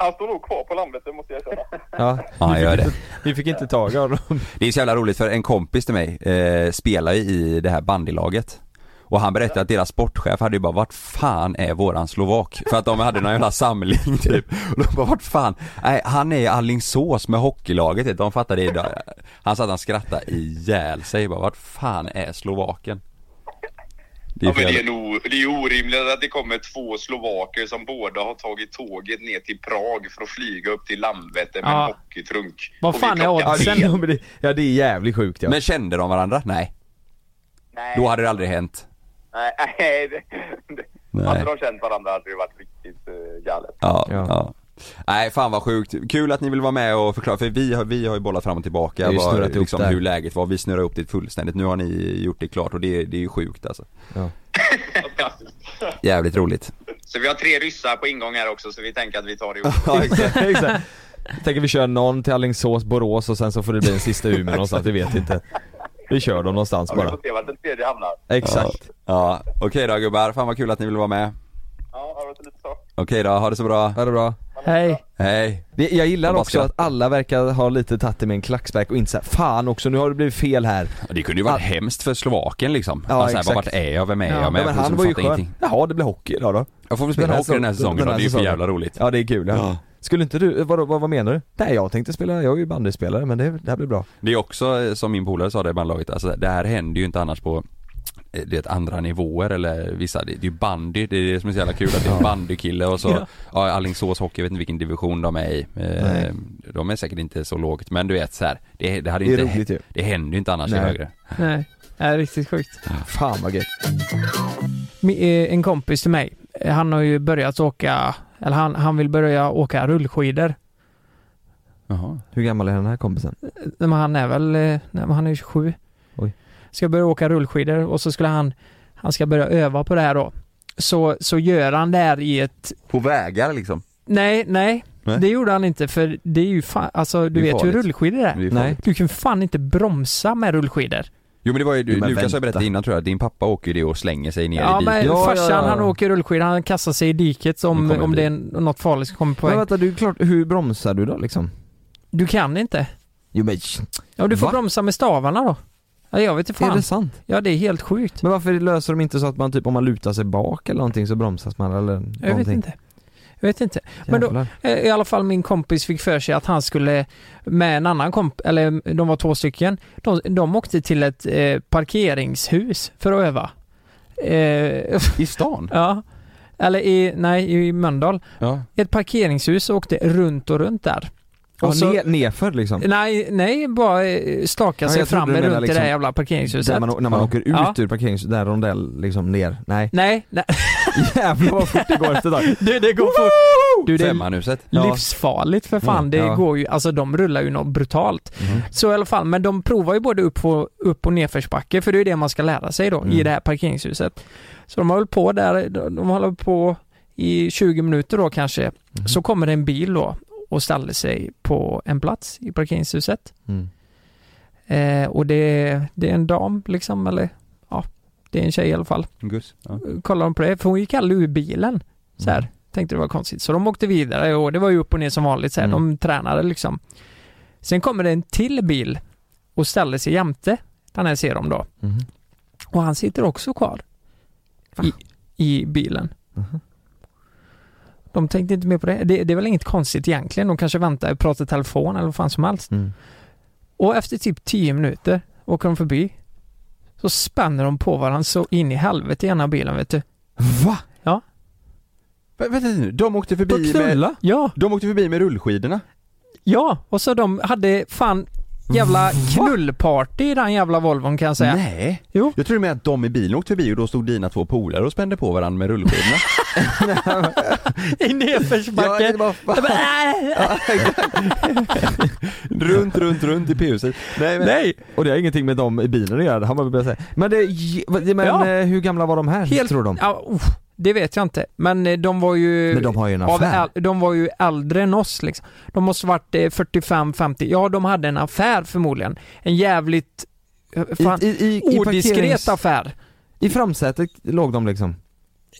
Han står nog kvar på Landvetter måste jag <laughs> säga. Ja, Ja, vi, gör fick det. inte, vi fick inte tag i honom. Det är så jävla roligt för en kompis till mig eh, spelar ju i det här bandylaget och han berättade att deras sportchef hade ju bara vart fan är våran slovak? För att de hade någon jävla samling typ och de bara vart fan? Nej han är i Alingsås med hockeylaget vet du. de fattade det idag Han satt och skrattade ihjäl sig bara vart fan är slovaken? Det Ja, för men det, är jävla- nog, det är ju orimligt att det kommer två slovaker som båda har tagit tåget ner till Prag för att flyga upp till Landvetter med Ja. en hockeytrunk. Vad Och fan vid är klockan Ja, det, <laughs> Sen- ja, men det, ja, det är jävligt sjukt ja. Men kände de varandra? Nej. Nej. Då hade det aldrig hänt. Nej, <laughs> nej, det, det. Nej. Hade de känt varandra hade det varit riktigt uh, galet. Ja, ja. Ja. Nej fan vad sjukt, kul att ni vill vara med och förklara för vi har, vi har ju bollat fram och Vi har tillbaka ju vad, snurrat ihop liksom, det här. hur läget var, vi snurrar upp det fullständigt, nu har ni gjort det klart och det, det är ju sjukt alltså Jävligt roligt <laughs> Så vi har tre ryssar på ingång här också så vi tänker att vi tar det ihop. <laughs> Ja <laughs> exakt, Exakt. Tänker vi kör någon till Alingsås, Borås och sen så får det bli en sista Umeå någonstans, vi vet inte. Vi kör dem någonstans Ja, vi bara. får se vart den tredje hamnar. Exakt. ja, okej då gubbar, fan vad kul att ni vill vara med Ja, det har varit lite så. Okej då, ha det så bra, Ha det bra. Hej. hej Det- Jag gillar Jag bara också att skrattar. alla verkar ha lite tagit det med en klackspark och inte såhär, fan också nu har det blivit fel här. Det kunde ju varit hemskt för Slovaken liksom, Ja, alltså, exakt. här, vart är jag, vem är Ja, jag med? ja, men han var ju skön. Jaha, det blir hockey idag då. Jag får väl spela Den här hockey den här säsongen. säsongen Den då, här det är ju för säsongen. jävla roligt Ja det är kul ja. Ja. Skulle inte du, vadå, vad, vad menar du? Nej jag tänkte spela, jag är ju bandyspelare men det, det här blir bra. Det är också eh, som min polare sa det i bandlaget, alltså det här händer ju inte annars på eh, du vet andra nivåer eller vissa, det det är ju bandy, det är det som är så jävla kul att det är en bandykille och så, ja, Alingsås hockey, jag vet inte vilken division de är i. Eh, Nej. De är säkert inte så lågt men du vet så här, det, det hade Det ju är inte, roligt ju. det händer ju inte annars i Nej. högre. Nej, det är riktigt sjukt. Fan vad gött. Mi- eh, en kompis till mig, eh, han har ju börjat åka, eller han, han vill börja åka rullskidor. Jaha. Hur gammal är den här kompisen? Eh, Men han är väl, eh, nej, men han är 27. Oj. Ska börja åka rullskidor och så skulle han, han ska börja öva på det här då. Så, så gör han det här i ett, På vägar liksom? nej, nej, Nej. det gjorde han inte för det är ju fan, alltså Det du är vet ju hur farligt. rullskidor Det är är. ju Nej. farligt. Du kan fan inte bromsa med rullskidor. Jo men det var ju, Jo, men Lukas har vänta. berättat innan tror jag, din pappa åker ju det och slänger sig ner Ja i men diket. Ja, ja, farsan ja. han åker rullskidor, han kastar sig i diket Nu om, kommer om en det är något farligt som kommer på Men väg. vänta du är klart, hur bromsar du då liksom? Du kan inte. Jo men Ja, du får Va? bromsa med stavarna då. Ja, jag vet inte är fan. det sant? Ja, det är helt sjukt. Men varför löser de inte så att man typ om man lutar sig bak eller någonting så bromsas man eller någonting? Jag vet inte. Jag vet inte. Men då- Jävlar. Eh, I alla fall min kompis fick för sig att han skulle med en annan kompis, eller eh, de var två stycken. De, de åkte till ett eh, parkeringshus för att öva. Eh, <laughs> I stan? ja. Eller i, nej, i Mölndal. Ja. Ett parkeringshus och åkte runt och runt där. Och Och så- ner, nerför liksom? Nej, nej, bara eh, staka Ja, sig jag trodde fram du runt menade i det liksom här jävla parkeringshuset. Där man, när man Ja. åker ut Ja. ur parkeringshuset, där rondell liksom ner. Nej. Nej, nej. <laughs> <laughs> Jävlar vad fort det går efter ett tag. Du, det går på... Du, det är Femmanhuset? Ja. livsfarligt för fan. Mm, det ja. går ju, alltså de rullar ju något brutalt. Mm-hmm. Så i alla fall, men de provar ju både upp och, upp och nedförsbacke för det är ju det man ska lära sig då Mm. i det här parkeringshuset. Så de har hållit på där, de de har hållit på i 20 minuter då kanske. Mm. Mm-hmm. Så kommer det en bil då och ställer sig på en plats i parkeringshuset. Mm. Eh, och det, det är en dam liksom, eller ja, det är en tjej i alla fall Gus? Ja. kollade de på det, för hon gick aldrig ur bilen. Så Mm. här, tänkte det var konstigt. Så de åkte vidare och det var ju upp och ner som vanligt. Så här, Mm. De tränade liksom. Sen kommer det en till bil och ställer sig jämte den här ser de då. Mhm. Och han sitter också kvar i, i bilen. Mhm. De tänkte inte mer på det. det. Det är väl inget konstigt egentligen. De kanske väntar, pratar i telefon eller vad fan som helst. Mm. Och efter typ 10 minuter åker de förbi. Så spänner de på varandra så in i helvete i ena bilen vet du. Va? Ja. Vä- Vänta nu, de åkte förbi med, knulla? Ja, de åkte förbi med rullskidorna? ja. Och så de hade fan jävla knullparty i den jävla Volvon kan jag säga. Nej! Jo. Jag tror med att de i bilen åkte förbi och då stod dina två polare och spände på varandra med <laughs> rullskidorna. I nedförsbacke. var Jag bara, "Äh, äh." runt, runt, runt i P-huset. Nej men, Nej, Och det har ingenting med dem i bilen att göra, det har man väl börjat säga. Men, det, men Ja. eh, hur gamla var de här Helt- tror de? ja, uff, det vet jag inte. Men eh, de var ju... Men de har ju en av affär. äl- de var ju äldre än oss liksom. De måste varit eh, 45-50. Ja, de hade en affär förmodligen. En jävligt... eh, Fan, I, i, i, i, Odiskret parkerings- affär. I framsätet låg de liksom.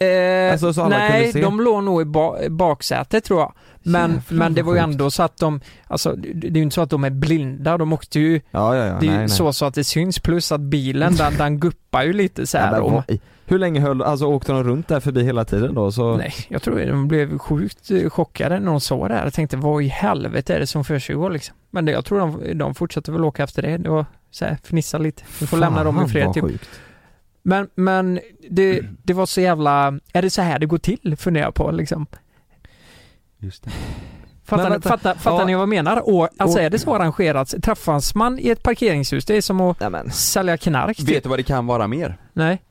Eh, Alltså, så alla kunde nej, se? de låg nog i ba- baksätet tror jag. Men, Jävlar, men det var ju vad sjukt. ändå så att de, alltså det det är ju inte så att de är blinda, de åkte ju, Ja, ja, ja. det är ju nej, nej. så, så att det syns, plus att bilen den, den guppar ju lite så Ja, här. men och, vad i- Hur länge höll, alltså åkte de runt där förbi hela tiden då så? nej, jag tror de blev sjukt eh, chockade när de såg det här. Jag tänkte, vad i helvete är det som försiggår liksom? Men det, jag tror de, de fortsatte väl åka efter det, det var så här, fnissa lite. Vi får lämna dem i fred vad typ. sjukt. Mm. Men, men det, det var så jävla, är det så här det går till? Funderar jag på liksom. Just det. Fattar, Men ni, vänta. fattar, fattar Ja. ni vad jag menar? Och, alltså Och- är det så arrangerat? Träffas man i ett parkeringshus, det är som att Nej, men. sälja knark typ. Vet du vad det kan vara mer? Nej?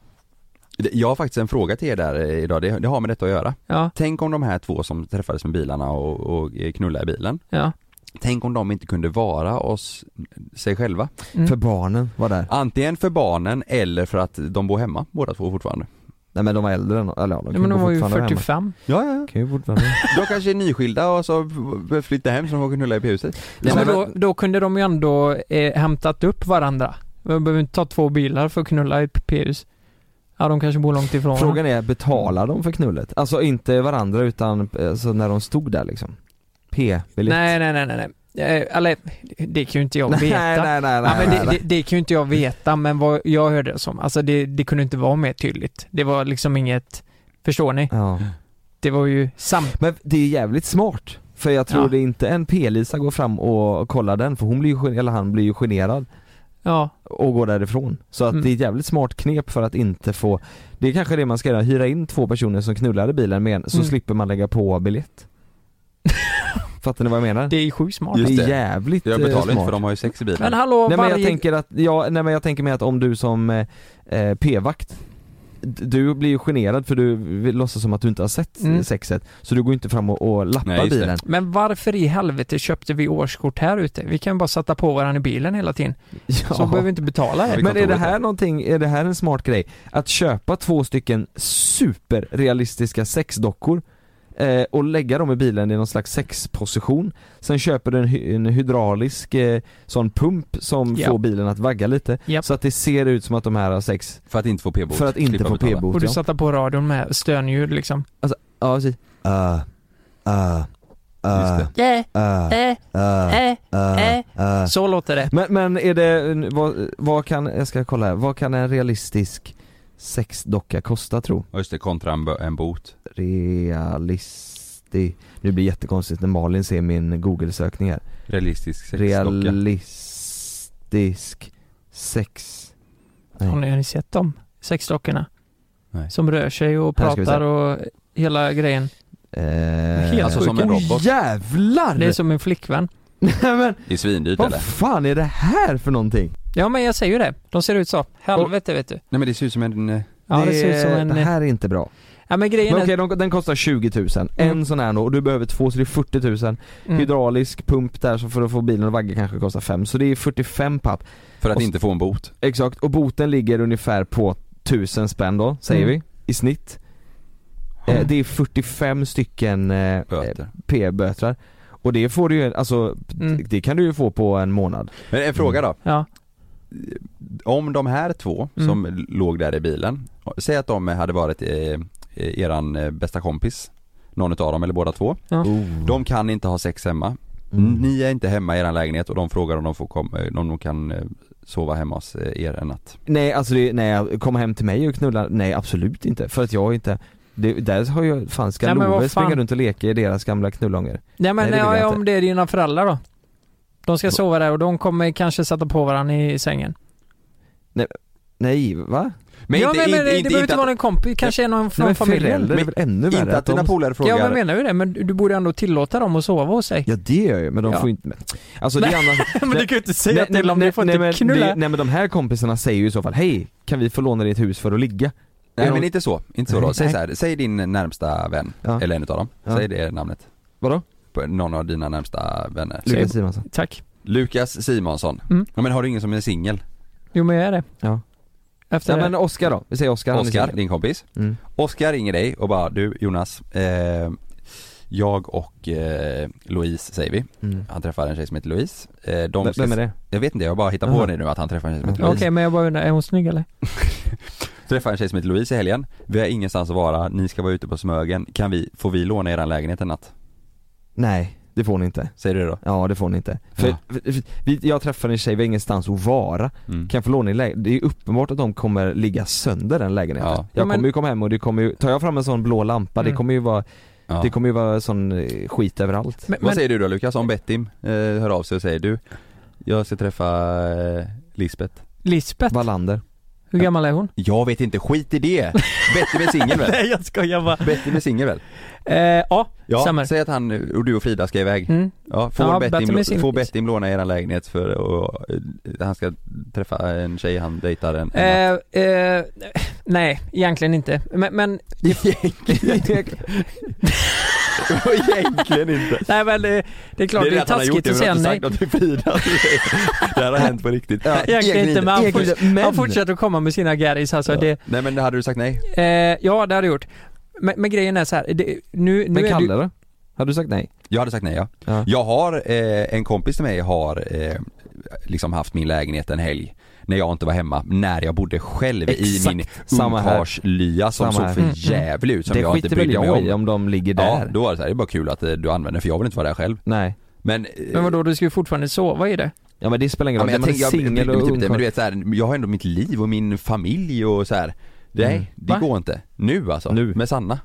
Det- Jag har faktiskt en fråga till er där eh, idag, det, det har med detta att göra. Ja, Tänk om de här två som träffades med bilarna och, och eh, knullade i bilen, ja. tänk om de inte kunde vara oss, eh, sig själva. För barnen var där. Antingen för barnen eller för att de bor hemma båda två fortfarande. Nej men de var äldre än, eller ja, de Nej, men kunde de var ju fortfarande vara hemma. 45. Ja, ja, ja. Kan ju fortfarande vara hemma. De kanske är nyskilda och så f- flyttar hem så de får knulla i huset. Nej, men- men då, då kunde de ju ändå eh, hämtat upp varandra. De behöver inte ta två bilar för att knulla i ett p-hus. Ja, de kanske bor långt ifrån. Frågan är, betalar de för knullet? Alltså inte varandra utan alltså, när de stod där liksom? P, vill Nej, nej, nej, nej. nej. Eh, Eller, det kan ju inte jag <laughs> veta. Nej, nej, nej, nej, Ja, men nej, det, det, det kan ju inte jag veta, men vad jag hörde det som, alltså det, det kunde inte vara mer tydligt. Det var liksom inget, förstår ni? Ja. Det var ju sam... Men det är jävligt smart. För jag tror Ja. det är inte en P-Lisa går fram och kollar den för hon blir ju, gen- eller han blir ju generad Ja, och går därifrån. Så att Mm. det är ett jävligt smart knep för att inte få Det är kanske det man ska göra, hyra in två personer som knullar i bilen med en, så Mm. slipper man lägga på <laughs> biljett. Fattar ni vad jag menar? det är ju sjukt smart. Just det det. är jävligt Jag eh, betalar smart. inte för de har ju sex i bilen. Men hallå, Nej men varje... jag tänker att, ja, nej men jag tänker mig att om du som eh, eh, p-vakt d- du blir ju generad för du vill- låtsas som att du inte har sett Mm. sexet Så du går inte fram och, och lappar Nej, just det. bilen <laughs> Men varför i helvete köpte vi årskort här ute? Vi kan ju bara sätta på varandra i bilen hela tiden. ja. Så behöver vi inte betala det. vi Men är det kontoret här där. någonting, är det här en smart grej? Att köpa två stycken superrealistiska sexdockor eh, och lägga dem i bilen i någon slags sexposition Sen köper du en, hy- en hydraulisk eh, sån pump som Ja. får bilen att vagga lite Japp. Så att det ser ut som att de här har sex För att inte få p-bot. för att inte Slippa få betala. p-bot Och du ja. sätta på radion med stönljud liksom. Ja precis. Uh, uh, uh, Just Yeah, uh, eh, uh, eh. uh, uh. Så låter det. Men, men är det, vad, vad kan, jag ska kolla här, vad kan en realistisk sexdocka kosta tro? Ja, Just det, kontra en, bö- en bot. Realistisk, nu blir det jättekonstigt när Malin ser min google-sökning här Realistisk sexdocka. Realistisk sex Nej. Har ni, har ni sett dem? Sexdockorna. Nej. Som rör sig och Här ska vi se. pratar och hela grejen. eh, Alltså som en oj, robot. jävlar! Det är som en flickvän. <laughs> Nej men, Det är svindyrt eller? vad fan är det här för någonting? Ja men jag säger ju det. De ser ut så. Helvete vet du. Nej men det ser ut som en... eh, Ja det, ser ut som en... eh, Det här är inte bra Ja men grejen Men är... okej, de- den kostar 20 000, Mm. en sån här då, och du behöver två så det är 40 000 Mm. Hydraulisk pump där så för att få bilen att vagga kanske kostar 5 så det är 45 papp För att Och s- inte få en bot. Exakt, och boten ligger ungefär på 1000 spänn då, säger Mm. vi, i snitt eh, Det är 45 stycken eh, Böter. p-bötrar Och det får du ju, alltså, Mm. det- det kan du ju få på en månad Men en fråga då. Ja. Om de här två Mm. som låg där i bilen, säg att de hade varit eh, eran eh, bästa kompis, någon utav dem eller båda två. De kan inte ha sex hemma. Mm. Ni är inte hemma i eran lägenhet och de frågar om de får komma, om de kan eh, sova hemma hos eh, er en natt. Nej alltså det, nej, komma hem till mig och knulla, nej absolut inte, för att jag inte det, där har ju, fan ska Nej, men Love vad fan. springa runt och leka i deras gamla knullånger? Nej men Nej, det vill ja, jag inte. om det är dina föräldrar då? De ska Va- sova där och de kommer kanske sätta på varandra i sängen. Nej va? Men ja, inte, men, men inte, det inte, behöver inte, inte vara en kompis, kanske är någon Nej, från men familjen. föräldrar är väl ännu att, värre? inte att dina de, polare Ja frågar men jag menar ju det, men du du borde ändå tillåta dem att sova hos sig. Ja det gör jag men de Ja. får inte, men, alltså det är annars <laughs> ju inte Nej, nej, nej, nej, men det- Nej, Nej men de här kompisarna säger ju i så fall, hej kan vi få låna ditt hus för att ligga? Nej Är men de- inte så, inte så då. Nej. Säg så här, säg din närmsta vän, Ja. eller en utav dem, Ja. säg det namnet. Vadå? På någon av dina närmsta vänner. Säg- Lukas Simonsson? Tack. Lukas Simonsson. Mm. Ja, men har du ingen som är singel? Jo men jag är det. Ja. Efter Nej det. men Oskar då, vi säger Oskar, han är Oskar, säker. din kompis. Mm. Oskar ringer dig och bara, du Jonas, eh, jag och eh, Louise säger vi. Mm. Han träffar en tjej som heter Louise. Eh, de V- ska- Vem är det? Jag vet inte, jag bara hittar på Jaha. det nu att han träffar en tjej som heter Ja. Okej Louise. men jag bara undrar, är hon snygg eller? Träffade en tjej som heter Louise i helgen. Vi har ingenstans att vara, ni ska vara ute på Smögen. Kan vi, får vi låna er lägenhet en natt? Nej, det får ni inte. Säger du det då? Ja det får ni inte. För, Ja. för, för, vi, jag träffade en tjej, vi har ingenstans att vara. Mm. Kan jag få låna din lägenhet? Det är ju uppenbart att de kommer ligga sönder den lägenheten. Ja. Jag Ja, men- kommer ju komma hem och det kommer ju, tar jag fram en sån blå lampa, det Mm. kommer ju vara, Ja. det kommer ju vara sån eh, skit överallt. Men, Vad men, säger du då Lukas om Bettim eh, hör av sig och säger du, jag ska träffa eh, Lisbeth. Lisbeth, Wallander. hur gammal är hon? Jag vet inte, skit i det! <laughs> Bettim är singel <laughs> väl? <laughs> Nej jag skojar bara. Bettim är singel väl? Eh, ja, Ja, stämmer. säg att han och du och Frida ska iväg. Mm. Ja, får, Ja, Bettim, Bettim är singel. får Bettim låna er lägenhet för och, eh, han ska träffa en tjej han dejtar en, en natt? Eh, eh, nej, egentligen inte. Men, men, <laughs> Egentligen inte. nej, men eh, det är klart det är, han har gjort taskigt att men jag säga har nej. inte sagt något till <laughs> Frida. Det här har hänt på riktigt. Ja, Egentligen inte, men han, Egentligen forts- inte, men- han fortsätter att komma med sina garris. Alltså, Ja. det, Nej men hade du sagt nej? eh, ja, det har det gjort. Men, men grejen är så här, det, nu, nu Men är Kalle du, då? Hade du sagt nej? Jag hade sagt nej ja. Ja. Jag har, eh, en kompis till mig har eh, liksom haft min lägenhet en helg när jag inte var hemma, när jag bodde själv Exakt. i min Samma här. ungkarlslya som Samma här. såg Mm, för mm. jävligt ut som det jag inte skiter väl brydde mig jag om. i om de ligger Ja, där. då var det så här, det är bara kul att eh, du använder för jag vill inte vara där själv. Nej. Men, eh, men vadå, du ska ju fortfarande sova i det. Ja men det spelar ingen Ja, roll, men när jag man är tänker, jag, singel och typ det, men du ungkarl. vet så här, jag har ändå mitt liv och min familj och så här. Nej, Mm. det Va? går inte. Nu alltså. Nu. Med Sanna.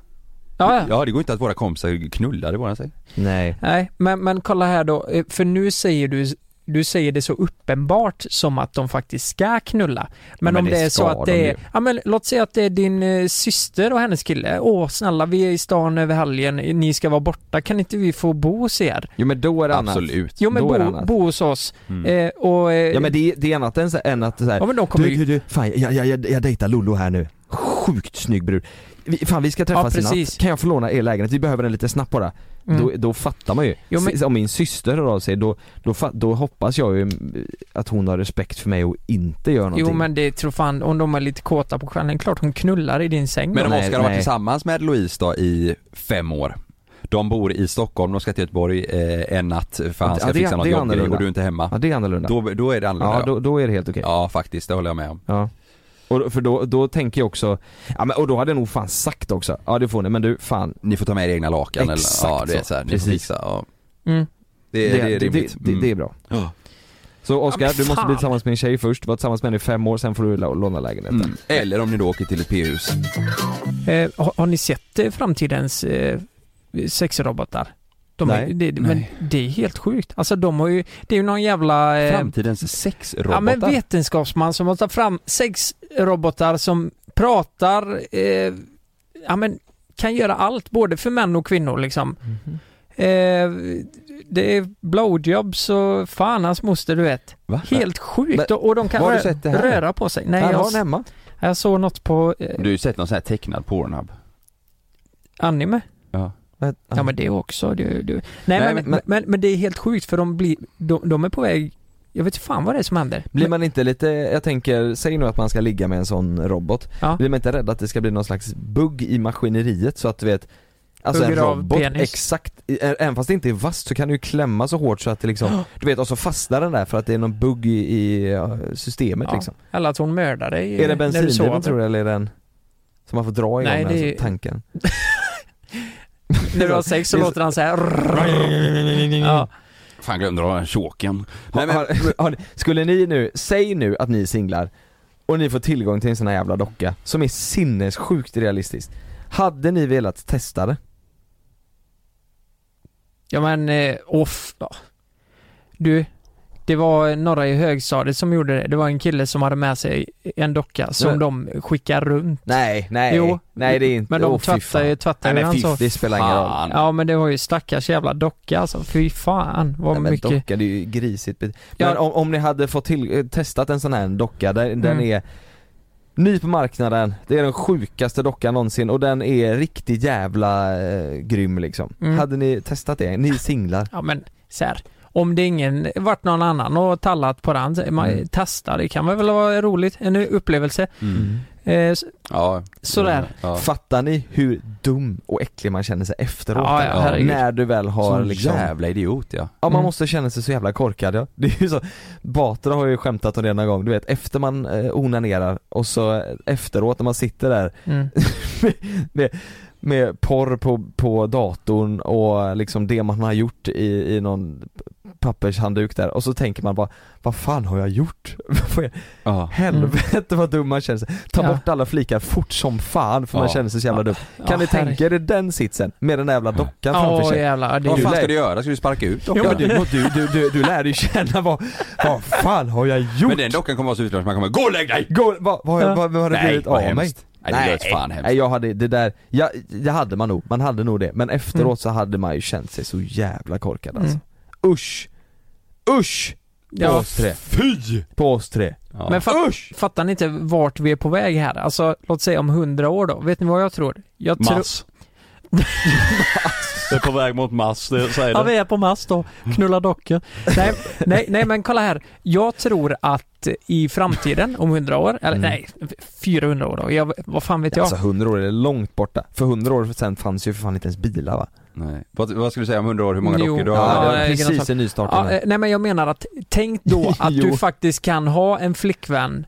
Ja, ja. Ja, det går inte att våra kompisar knullar, det vågar sig. Nej. Nej, men, men kolla här då, eh, för nu säger du du säger det så uppenbart som att de faktiskt ska knulla. Men, Men om det det är så ska att de det ju. är, ja men låt säga att det är din eh, syster och hennes kille. Åh snälla, vi är i stan över helgen, ni ska vara borta, kan inte vi få bo hos er? Jo men då är det annat. Absolut. Jo men Då är det bo, annat. Mm. bo hos oss. Eh, och, eh, Ja men det, det är annat än, så- än att så här, ja, men de kommer du, ju... du, du, fan jag, jag, jag, jag dejtar Lollo här nu. Sjukt snygg brud. Vi, fan vi ska träffas i precis. natt. Kan jag få låna er lägenhet? Vi behöver den lite snabbt bara. Mm. Då, då fattar man ju. Jo, men- S- Om min syster hör av sig då, då, fa- då hoppas jag ju mm, att hon har respekt för mig och inte gör någonting. Jo men det tror fan, om de är lite kåta på stjärnan, klart hon knullar i din säng. Men då. om Nej, Oskar har varit nej. tillsammans med Louise då i fem år. De bor i Stockholm, de ska till Göteborg eh, en natt för han Ja, ska det- fixa något det är jobbgrej annorlunda. och du är inte hemma. Ja det är annorlunda. Då, då är det annorlunda. ja då, då är det helt okej. ja faktiskt, det håller jag med om. Ja. Och då- för då, då tänker jag också, ja men och då hade jag nog fan sagt också, ja det får ni men du fan Ni får ta med er egna lakan Exakt eller ja, det är så. så här, ni får Precis. fixa. Ja. Mm. Det, det, är rimligt. Det, det, det är bra. Ja. Så Oskar, Ja, men du måste fan. bli tillsammans med en tjej först, vara tillsammans med henne i fem år, sen får du la- låna lägenheten. Mm. Eller om ni då åker till ett p-hus. Ehm, Eh, har, har ni sett eh, framtidens eh, sexrobotar? De är, Nej. det, Men Nej. det är helt sjukt. Alltså de har ju, det är ju någon jävla... Eh, Framtidens sexrobotar. ja men vetenskapsman som har tagit fram sexrobotar som pratar, eh, ja men kan göra allt både för män och kvinnor liksom. Eh, det är blowjobs och fan hans moster du vet. Va? Helt sjukt Men- och, och de kan var har du rö- sett det här? röra på sig. Nej, Här har jag, den hemma. jag såg något på eh, Du har ju sett någon sån här tecknad Pornhub. anime. Ja. Vad- Ja men det också. Det, det. Nej, Nej, men, men- men, men, det är helt sjukt för de, blir, de, de är på väg, jag vet inte fan vad det är som händer. Blir man inte lite, jag tänker, säg nu att man ska ligga med en sån robot. Ja. Blir man inte rädd att det ska bli någon slags bugg i maskineriet så att du vet Alltså en Hugger av robot, penis. exakt, i- ä- även fast det inte är vasst så kan du ju klämma så hårt så att det liksom, du vet och så fastnar den där för att det är någon bugg i, i ja, systemet Ja. liksom. Eller att hon mördar dig eh, Är det när du sover. bensindriven tror du eller är den som man får dra igång Nej, den det är- alltså, tanken? När du har sex så Det är så- låter han så här. <laughs> Ja. Fan glömde dra den choken. Har, har, <laughs> har, skulle ni nu, säg nu att ni är singlar och ni får tillgång till en sån här jävla docka som är sinnessjukt realistisk. Hade ni velat testa det? ja men, eh, off då. Du, det var några i högstadiet som gjorde det. Det var en kille som hade med sig en docka som Men- de skickar runt. Nej, nej, Jo. nej det är inte, Men de Åh, fy tvättar ju, fan. tvättar ju han så. Det spelar ingen roll. Fan. Ja men det var ju stackars jävla docka alltså. Fy fan vad Nej, men mycket. docka, det är ju grisigt. bet- Men Ja. om, om ni hade fått till, eh, testat en sån här docka, där, den Mm. är ny på marknaden, det är den sjukaste dockan någonsin och den är riktigt jävla eh, grym liksom. Mm. Hade ni testat det? Ni singlar? Ja men så här. Om det ingen varit någon annan och tallat på den, så- man Mm. testar, det kan väl vara roligt, en upplevelse. Mm. Eh, s- Ja. sådär. Ja. Fattar ni hur dum och äcklig man känner sig efteråt? Ja, ja, herregud. när du väl har Sån liksom jävla idiot ja. Ja man Mm. måste känna sig så jävla korkad ja. Det är ju så, Batra har ju skämtat om det någon gång, du vet efter man eh, onanerar och så eh, efteråt när man sitter där Mm. med, med porr på, på datorn och liksom det man har gjort i, i någon pappershandduk där och så tänker man bara Vad fan har jag gjort? Vad i Ja. Helvete vad dum man känner sig. Ta Mm. Ja. bort alla flikar fort som fan för man Ja. känner sig så jävla Ja. dum. Kan ni tänka er den sitsen med den där jävla dockan framför Åh sig? jävlar. Det är Vad ju fan lär- ska du göra? Ska du sparka ut Ja, dockan? men du, du, du, du, du lär dig känna vad, vad fan har jag gjort? Men den dockan kommer vara så utlöst man kommer gå och lägg dig! Gå, vad, vad, har jag- vad, vad har det Nej, blivit vad av mig? hemskt. Nej, det lät fan hemskt. nej jag hade det där, jag, det hade man nog, man hade nog det, men efteråt så hade man ju känt sig så jävla korkad alltså. Usch! Usch! På Ja. oss tre, Fy! på oss tre. Ja. Men fatt, Usch! fattar ni inte vart vi är på väg här? Alltså, låt säga om hundra år då. Vet ni vad jag tror? Jag tror... Mass. Det är på väg mot mass, det säger Ja, vi är på mass då. Knulla dockor. <laughs> Nej, nej, nej, men kolla här. Jag tror att i framtiden, om 100 år, eller Mm. nej, 400 år då, jag, vad fan vet jag? Alltså 100 år är långt borta, för 100 år sedan fanns ju för fan inte ens bilar va? Nej. Vad, vad skulle du säga om 100 år, hur många Jo. dockor du Ja, har? det var nej, precis Gunnar- i nystarten ja, eh, här. nej, men jag menar att <laughs> tänk då att Jo. du faktiskt kan ha en flickvän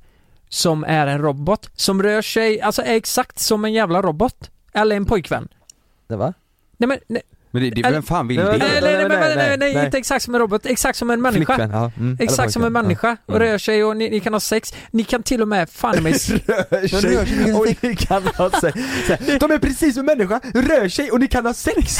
som är en robot, som rör sig, alltså är exakt som en jävla robot. Eller en pojkvän. Det, va? Nej men, nej, Men det, det, vem fan vill Nej, det? men- nej, nej, nej, nej, nej, nej, nej. inte exakt som en robot, exakt som en människa. Flickvän, ja. Mm. Eller Exakt som en pojkvän, ja. Mm. människa, och rör sig och ni, ni kan ha sex, ni kan till och med, fan <laughs> i mig, rör sig och ni kan ha sex. Så här, De är precis som människa, rör sig och ni kan ha <laughs> sex!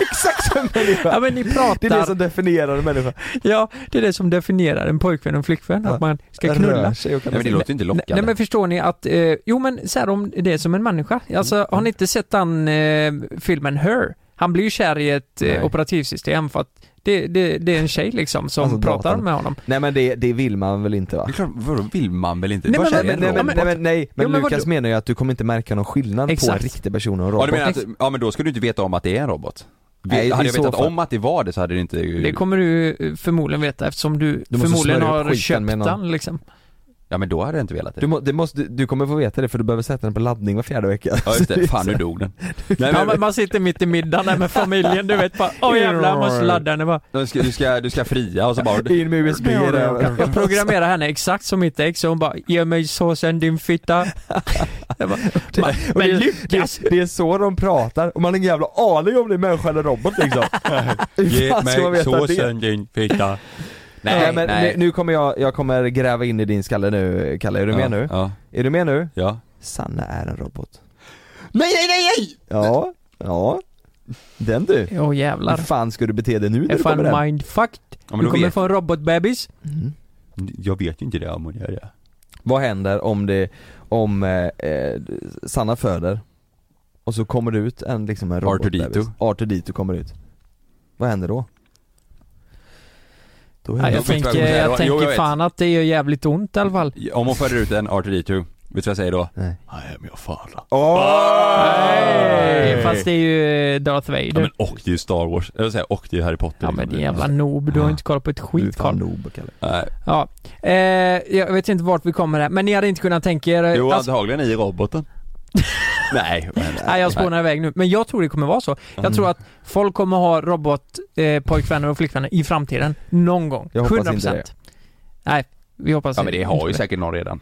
Exakt som människa! ja men ni det är det pratar som definierar en människa. Ja, det är det som definierar en pojkvän och en flickvän, Ja. att man ska knulla. Rör sig och kan Nej, men det låter ju inte Nej, lockande. nej men förstår ni att, eh, jo men så här, om det är som en människa, Mm. alltså har ni inte sett den eh, filmen Her? Han blir ju kär i ett Nej. eh, operativsystem för att det, det, det är en tjej liksom som Alltså, pratar datorn. med honom. Nej men det, det vill man väl inte va? Det är klart, vadå vill man väl inte? Nej, Vad men- Nej känner men, en nej, men, robot? nej, men, nej, men Jo, men Lukas vadå? menar ju att du kommer inte märka någon skillnad på Exakt. en riktig person och en Ja robot. du menar att, ja men då ska du inte veta om att det är en robot? Nej, Nej, hade i jag så vetat fall. om att det var det så hade det inte... Det kommer du eh, förmodligen veta eftersom du, Du måste förmodligen smörja upp har skiten köpt med någon. den liksom. Ja men då hade jag inte velat det. du, må, det måste, du kommer få veta det för du behöver sätta den på laddning var fjärde vecka. Ja just det, fan nu dog den. Nej, Ja, men, men man sitter mitt i middagen där med familjen, du vet bara åh jävlar, jag måste ladda henne bara. du, ska, du, ska, du ska fria och <laughs> så bara... <laughs> In med USB där. Jag programmerar henne exakt som mitt ex och hon bara ge mig såsen <laughs> din fitta. Jag bara, men Och det, men är- Lukas! Det, det är så de pratar och man har ingen jävla aning om det är människa eller robot <laughs> liksom. Hur fan ska man veta det? din fitta. Nej, Nej, men nej. Nu, nu kommer jag, jag kommer gräva in i din skalle nu Kalle, är du med ja, nu? Ja, Är du med nu? ja. Sanna är en robot. Nej nej nej nej! Ja, ja. Den du. Åh jävlar. Hur fan ska du bete dig nu när du Är kommer hem? fan mindfucked. Ja, men du då kommer vet, få en robotbebis. jag vet ju inte det om hon gör det. Vad händer om det, om eh, eh, Sanna föder och så kommer det ut en liksom en robot R2D2. bebis. R2D2 kommer ut. Vad händer då? Då Ja, händer jag får tänker, inte- jag Jo, tänker jag vet. fan att det gör jävligt ont i alla fall. Om hon föder ut en R2D2, vet du vad jag säger då? Nej. I am your father. Nej, Eh, Fast det är ju Darth Vader. Ja Ja men och det är ju Star Wars, eller säga och det är Harry Potter. men, liksom. din jävla noob, du har inte koll på ett Du är skit fan Carl. noob Kalle. Nej. Ja. Eh, jag vet inte vart vi kommer här, men ni hade inte kunnat tänka er... Jo alltså, antagligen i roboten. <laughs> nej. Men, Nej jag spånar iväg nu, men jag tror det kommer vara så. Jag tror att folk kommer ha robotpojkvänner eh, pojkvänner och flickvänner i framtiden. Någon gång. Jag hoppas inte det. Nej, vi hoppas Ja men det har ju inte säkert någon redan.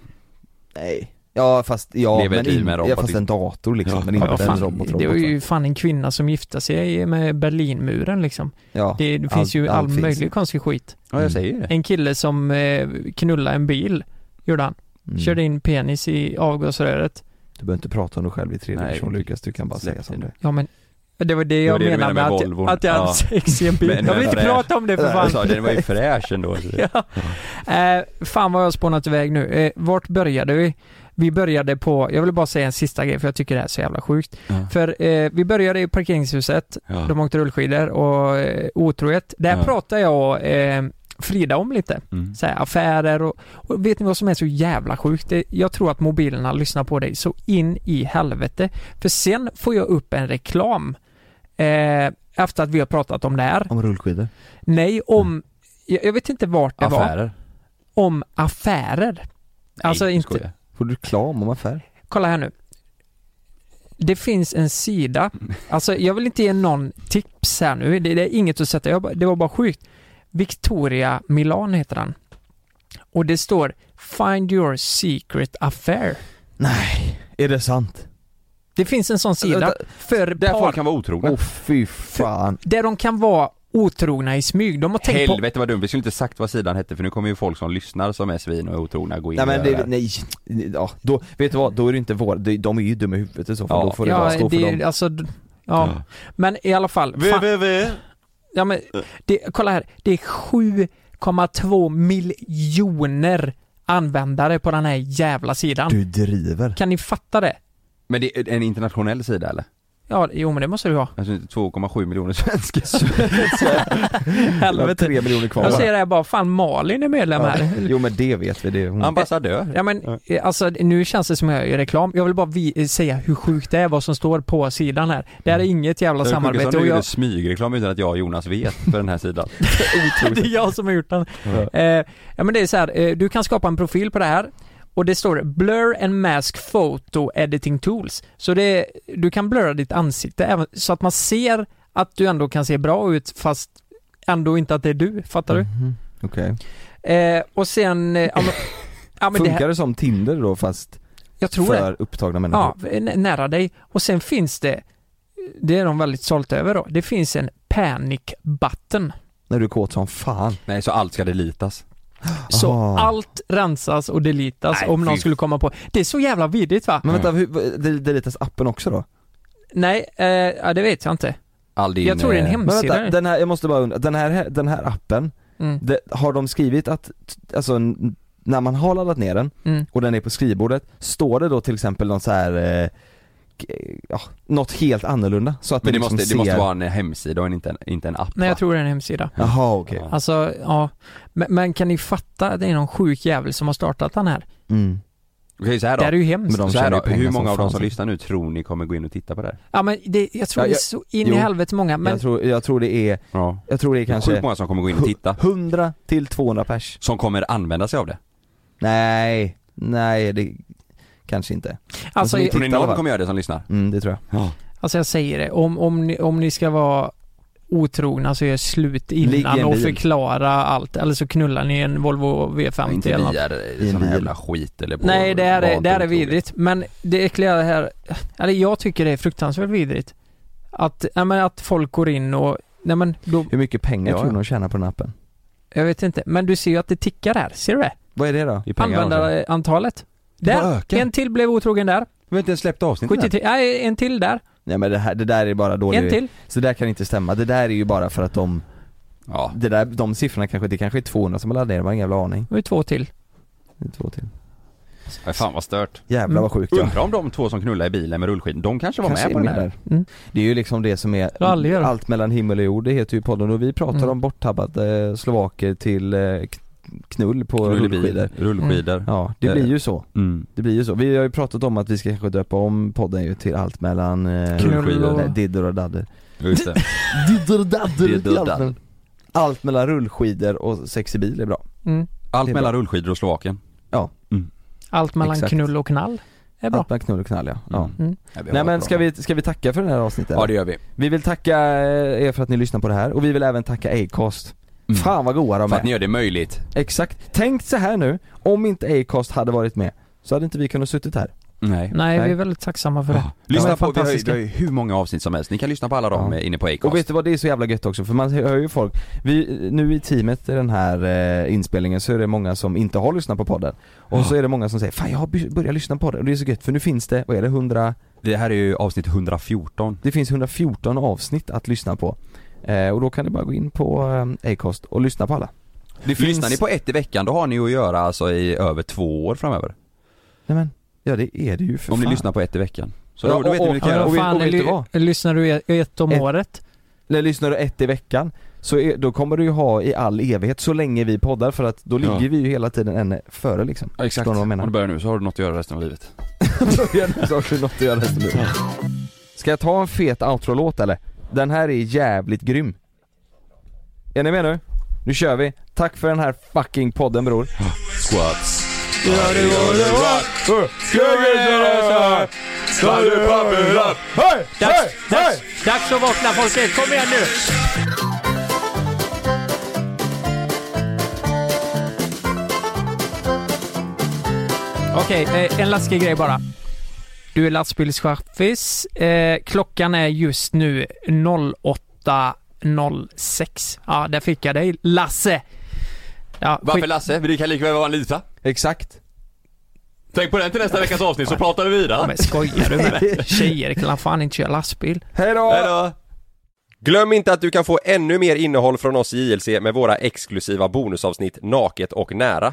Nej. Ja fast, ja Lever ett men liv in, med en ja, robot, fast en dator liksom, Ja, men Ja, vad inte en fan, robot det robot. var va? ju fan en kvinna som gifte sig med Berlinmuren liksom. Ja. Det, det finns Allt- ju all allt finns. möjlig konstig skit. Ja jag säger det. En kille som eh, knullade en bil, gjorde han. Mm. Körde in penis i avgasröret. Du behöver inte prata om dig själv i tredje Nej. person Lukas, du kan bara säga som det Ja men, det var det var jag det du menade med menade med att, Volvon. jag- att jag hade Ja. sex i en bil. <laughs> Men- jag vill men- inte prata om det för Jag fan. sa, den var ju fräsch ändå. <laughs> Ja. Eh, fan vad jag har spånat iväg nu. Eh, vart började vi? Vi började på, jag vill bara säga en sista grej för jag tycker det här är så jävla sjukt. Ja. För eh, vi började i parkeringshuset, Ja. de åkte rullskidor och eh, otrohet. Där Ja. pratar jag och eh, Frida om lite. Mm. Så här, affärer och, och vet ni vad som är så jävla sjukt? Det, jag tror att mobilerna lyssnar på dig så in i helvete. För sen får jag upp en reklam eh, efter att vi har pratat om det här. Om rullskidor? Nej, om, jag, jag vet inte vart det var Affärer. om affärer. alltså Nej, inte, skojar. Får du reklam om affär? kolla här nu. Det finns en sida, Mm. alltså jag vill inte ge någon tips här nu, det, det är inget att sätta, jag, bara- det var bara sjukt. Victoria Milan heter den. Och det står Find your secret affair. Nej, är det sant? Det finns en sån sida för Där par, folk Äh, kan vara otrogna. Åh oh, fy fan. där de kan vara otrogna i smyg. De har tänkt på... Helvete vad dumt, vi skulle inte sagt vad sidan hette för nu kommer ju folk som lyssnar som är svin och är otrogna gå in Nej och men göra det, här. nej, ja, då, vet du vad, då är det inte vår, de, de är ju dumma i huvudet i så fall, Ja. då får det bara stå för det, dem Alltså, d- ja. Ja. men i alla fall. Fan, ja, men, det, kolla här, det är 7,2 miljoner användare på den här jävla sidan. Du driver Kan ni fatta det? Men det är en internationell sida eller? Ja, jo men det <laughs> måste du ha. Alltså 2,7 miljoner <laughs> svenskar Jag har Helvete. tre miljoner kvar Jag va? ser det här bara, fan Malin är medlem här. ja. <laughs> Jo men det vet vi, det är hon Mm. Ambassadör Ja men eh, alltså nu känns det som jag gör reklam. Jag vill bara vi- eh, säga hur sjukt det är vad som står på sidan här. Det Mm. här är inget jävla samarbete och Du gjorde jag, smygreklam utan att jag och Jonas vet för den här <laughs> sidan det är jag som har gjort den. Eh, ja men det är så här, eh, du kan skapa en profil på det här och det står Blur and Mask Photo Editing Tools. Så det, du kan blurra ditt ansikte även, så att man ser att du ändå kan se bra ut fast ändå inte att det är du, fattar du? Mhm. Okej, Eh, och sen, eh, ja men, ja, men det funkar här, det som Tinder då fast jag tror det. för upptagna Ja, människor? n- nära dig. Och sen finns det, det är de väldigt stolta över då, det finns en panic button. När du är kåt som fan Nej så allt ska delitas Så Aha. allt rensas och deletas Nej, om någon fy. skulle komma på. Det är så jävla vidrigt va? Men vänta, hur, det- delitas appen också då? Nej, eh, ja, det vet jag inte. All din, Jag tror det är en eh, Men vänta, hemsida. den här, jag måste bara undra, den här, den här appen, Mm, det, har de skrivit att, alltså n- när man har laddat ner den mm. och den är på skrivbordet, står det då till exempel någon så här eh, k- ja, något helt annorlunda? Så att Men det det liksom måste, ser... det måste vara en hemsida och en- inte en, inte en app Nej, va? jag tror det är en hemsida. Jaha okej, Ja. Alltså, ja. Men, men kan ni fatta att det är någon sjuk jävel som har startat den här? mm. Okej så här Det då, här är ju hemskt. Men de så här tjänar då. ju pengar hur många som av de fan. som lyssnar nu tror ni kommer gå in och titta på det här? Ja men det, jag Ja, tror det jag- är så in jo. i helvete många, men jag, tror, jag tror det är, Ja jag tror det är Kanske. Sjukt kanske många som kommer gå in och <laughs> titta 100 till 200 pers Som kommer använda sig av det Nej, nej det kanske inte alltså, Alltså, Tror ni Titta, va? någon kommer göra det som lyssnar? Mm det tror jag Ja Alltså jag säger det, om, om, ni, om ni ska vara otrogna så gör slut Ligg i innan en och bil. förklara allt. Eller så knullar ni en Volvo V50 Inte eller något. via I en sån här bil. jävla skit eller på Nej, det här är, vanligt det här är otroligt. vidrigt. Men det äckliga här, eller jag tycker det är fruktansvärt vidrigt. Att, nej men att folk går in och, nej men då, Hur mycket pengar Ja, tror ja. du de tjänar på den appen? jag vet inte. Men du ser ju att det tickar här, ser du det? Vad är det då? Det är pengar de Användarantalet. Det bara Där! ökar. En till blev otrogen där. Vi har inte ens släppt avsnittet 73, nej en till där. Nej men det, här, det där är bara dålig En till. Så det där kan inte stämma, det där är ju bara för att de, Ja, det där, de siffrorna kanske, det kanske är 200 som har laddat ner, man har ingen jävla aning Och två till. Det är Två till men fan vad stört Jävlar vad sjukt ja Undrar om de två som knullar i bilen med rullskidor, de kanske var Kanske med på är den här? där. Mm. Det är ju liksom det som är har aldrig gjort. allt mellan himmel och jord, det heter ju podden och vi pratar Mm. om borttabbade slovaker till eh, k- knull på Knull i bil, rullskidor Mm. Rullskidor. Ja, det Eh. blir ju så. Mm. Det blir ju så. Vi har ju pratat om att vi ska kanske döpa om podden ju till allt mellan eh, Knull och- rullskidor, nej, didder och dadder Just <laughs> det. Didder och dadder, Didder och dadder. jävlar. Allt mellan rullskidor och sex i bil är bra Mm. Allt Det är mellan bra. rullskidor och Slovakien. Allt mellan Exakt. knull och knall. är bra. Allt mellan knull och knall ja, ja. Mm. Mm. Ja, vi har Nej ett men bra ska namn. vi, ska vi tacka för den här avsnittet? Ja det gör vi. Vi vill tacka eh, er för att ni lyssnar på det här och vi vill även tacka Acast Mm. Fan vad goa de För att är! ni gör det möjligt. Exakt, tänk så här nu, om inte Acast hade varit med så hade inte vi kunnat suttit här Nej. Nej, Nej. vi är väldigt tacksamma för det. Lyssna på, Ja, vi har, ju, fantastiska. vi har ju hur många avsnitt som helst. Ni kan lyssna på alla dem Ja. eh, inne på Acast. Och vet du vad, det är så jävla gött också för man hör ju folk, vi, nu i teamet i den här eh, inspelningen så är det många som inte har lyssnat på podden Och Ja. så är det många som säger 'Fan jag har by- börjat lyssna på podden' och det är så gött för nu finns det, vad är det, 100, Det här är ju avsnitt 114. det finns 114 avsnitt att lyssna på eh, Och då kan ni bara gå in på eh, Acast och lyssna på alla Det finns- Lyssnar ni på ett i veckan, då har ni att göra alltså i över två år framöver. Nej men, ja det är det ju för om fan. ni lyssnar på ett i veckan. Så Ja, då, då vet och- ni vad ni kan och- göra. och- Vad vi- fan, vet du ly- vad? lyssnar du i- ett om Ett- året? Eller lyssnar du ett i veckan så är, då kommer du ju ha i all evighet så länge vi poddar för att då Ja. ligger vi ju hela tiden en före liksom Ja, exakt. Förstår ni vad jag Om menar? du börjar nu så har du något att göra resten av livet. <laughs> Så har du något att göra resten av livet. Ska jag ta en fet outro-låt eller? Den här är jävligt grym Är ni med nu? Nu kör vi, tack för den här fucking podden bror Squats. Dags, dags, dags att vakna folket. Kom igen nu. Okej, eh, en läskig grej bara. Du är lastbilschaffis. Eh, klockan är just nu 08.06. Ja, där fick jag dig. Lasse! Ja, Varför skit- Lasse? Det kan lika väl vara en Lisa. Exakt. Tänk på den till nästa veckas avsnitt så pratar vi vidare. Men skojar du med <laughs> mig? Tjejer kan fan inte köra lastbil. Hejdå! Hejdå! Glöm inte att du kan få ännu mer innehåll från oss i JLC med våra exklusiva bonusavsnitt Naket och nära.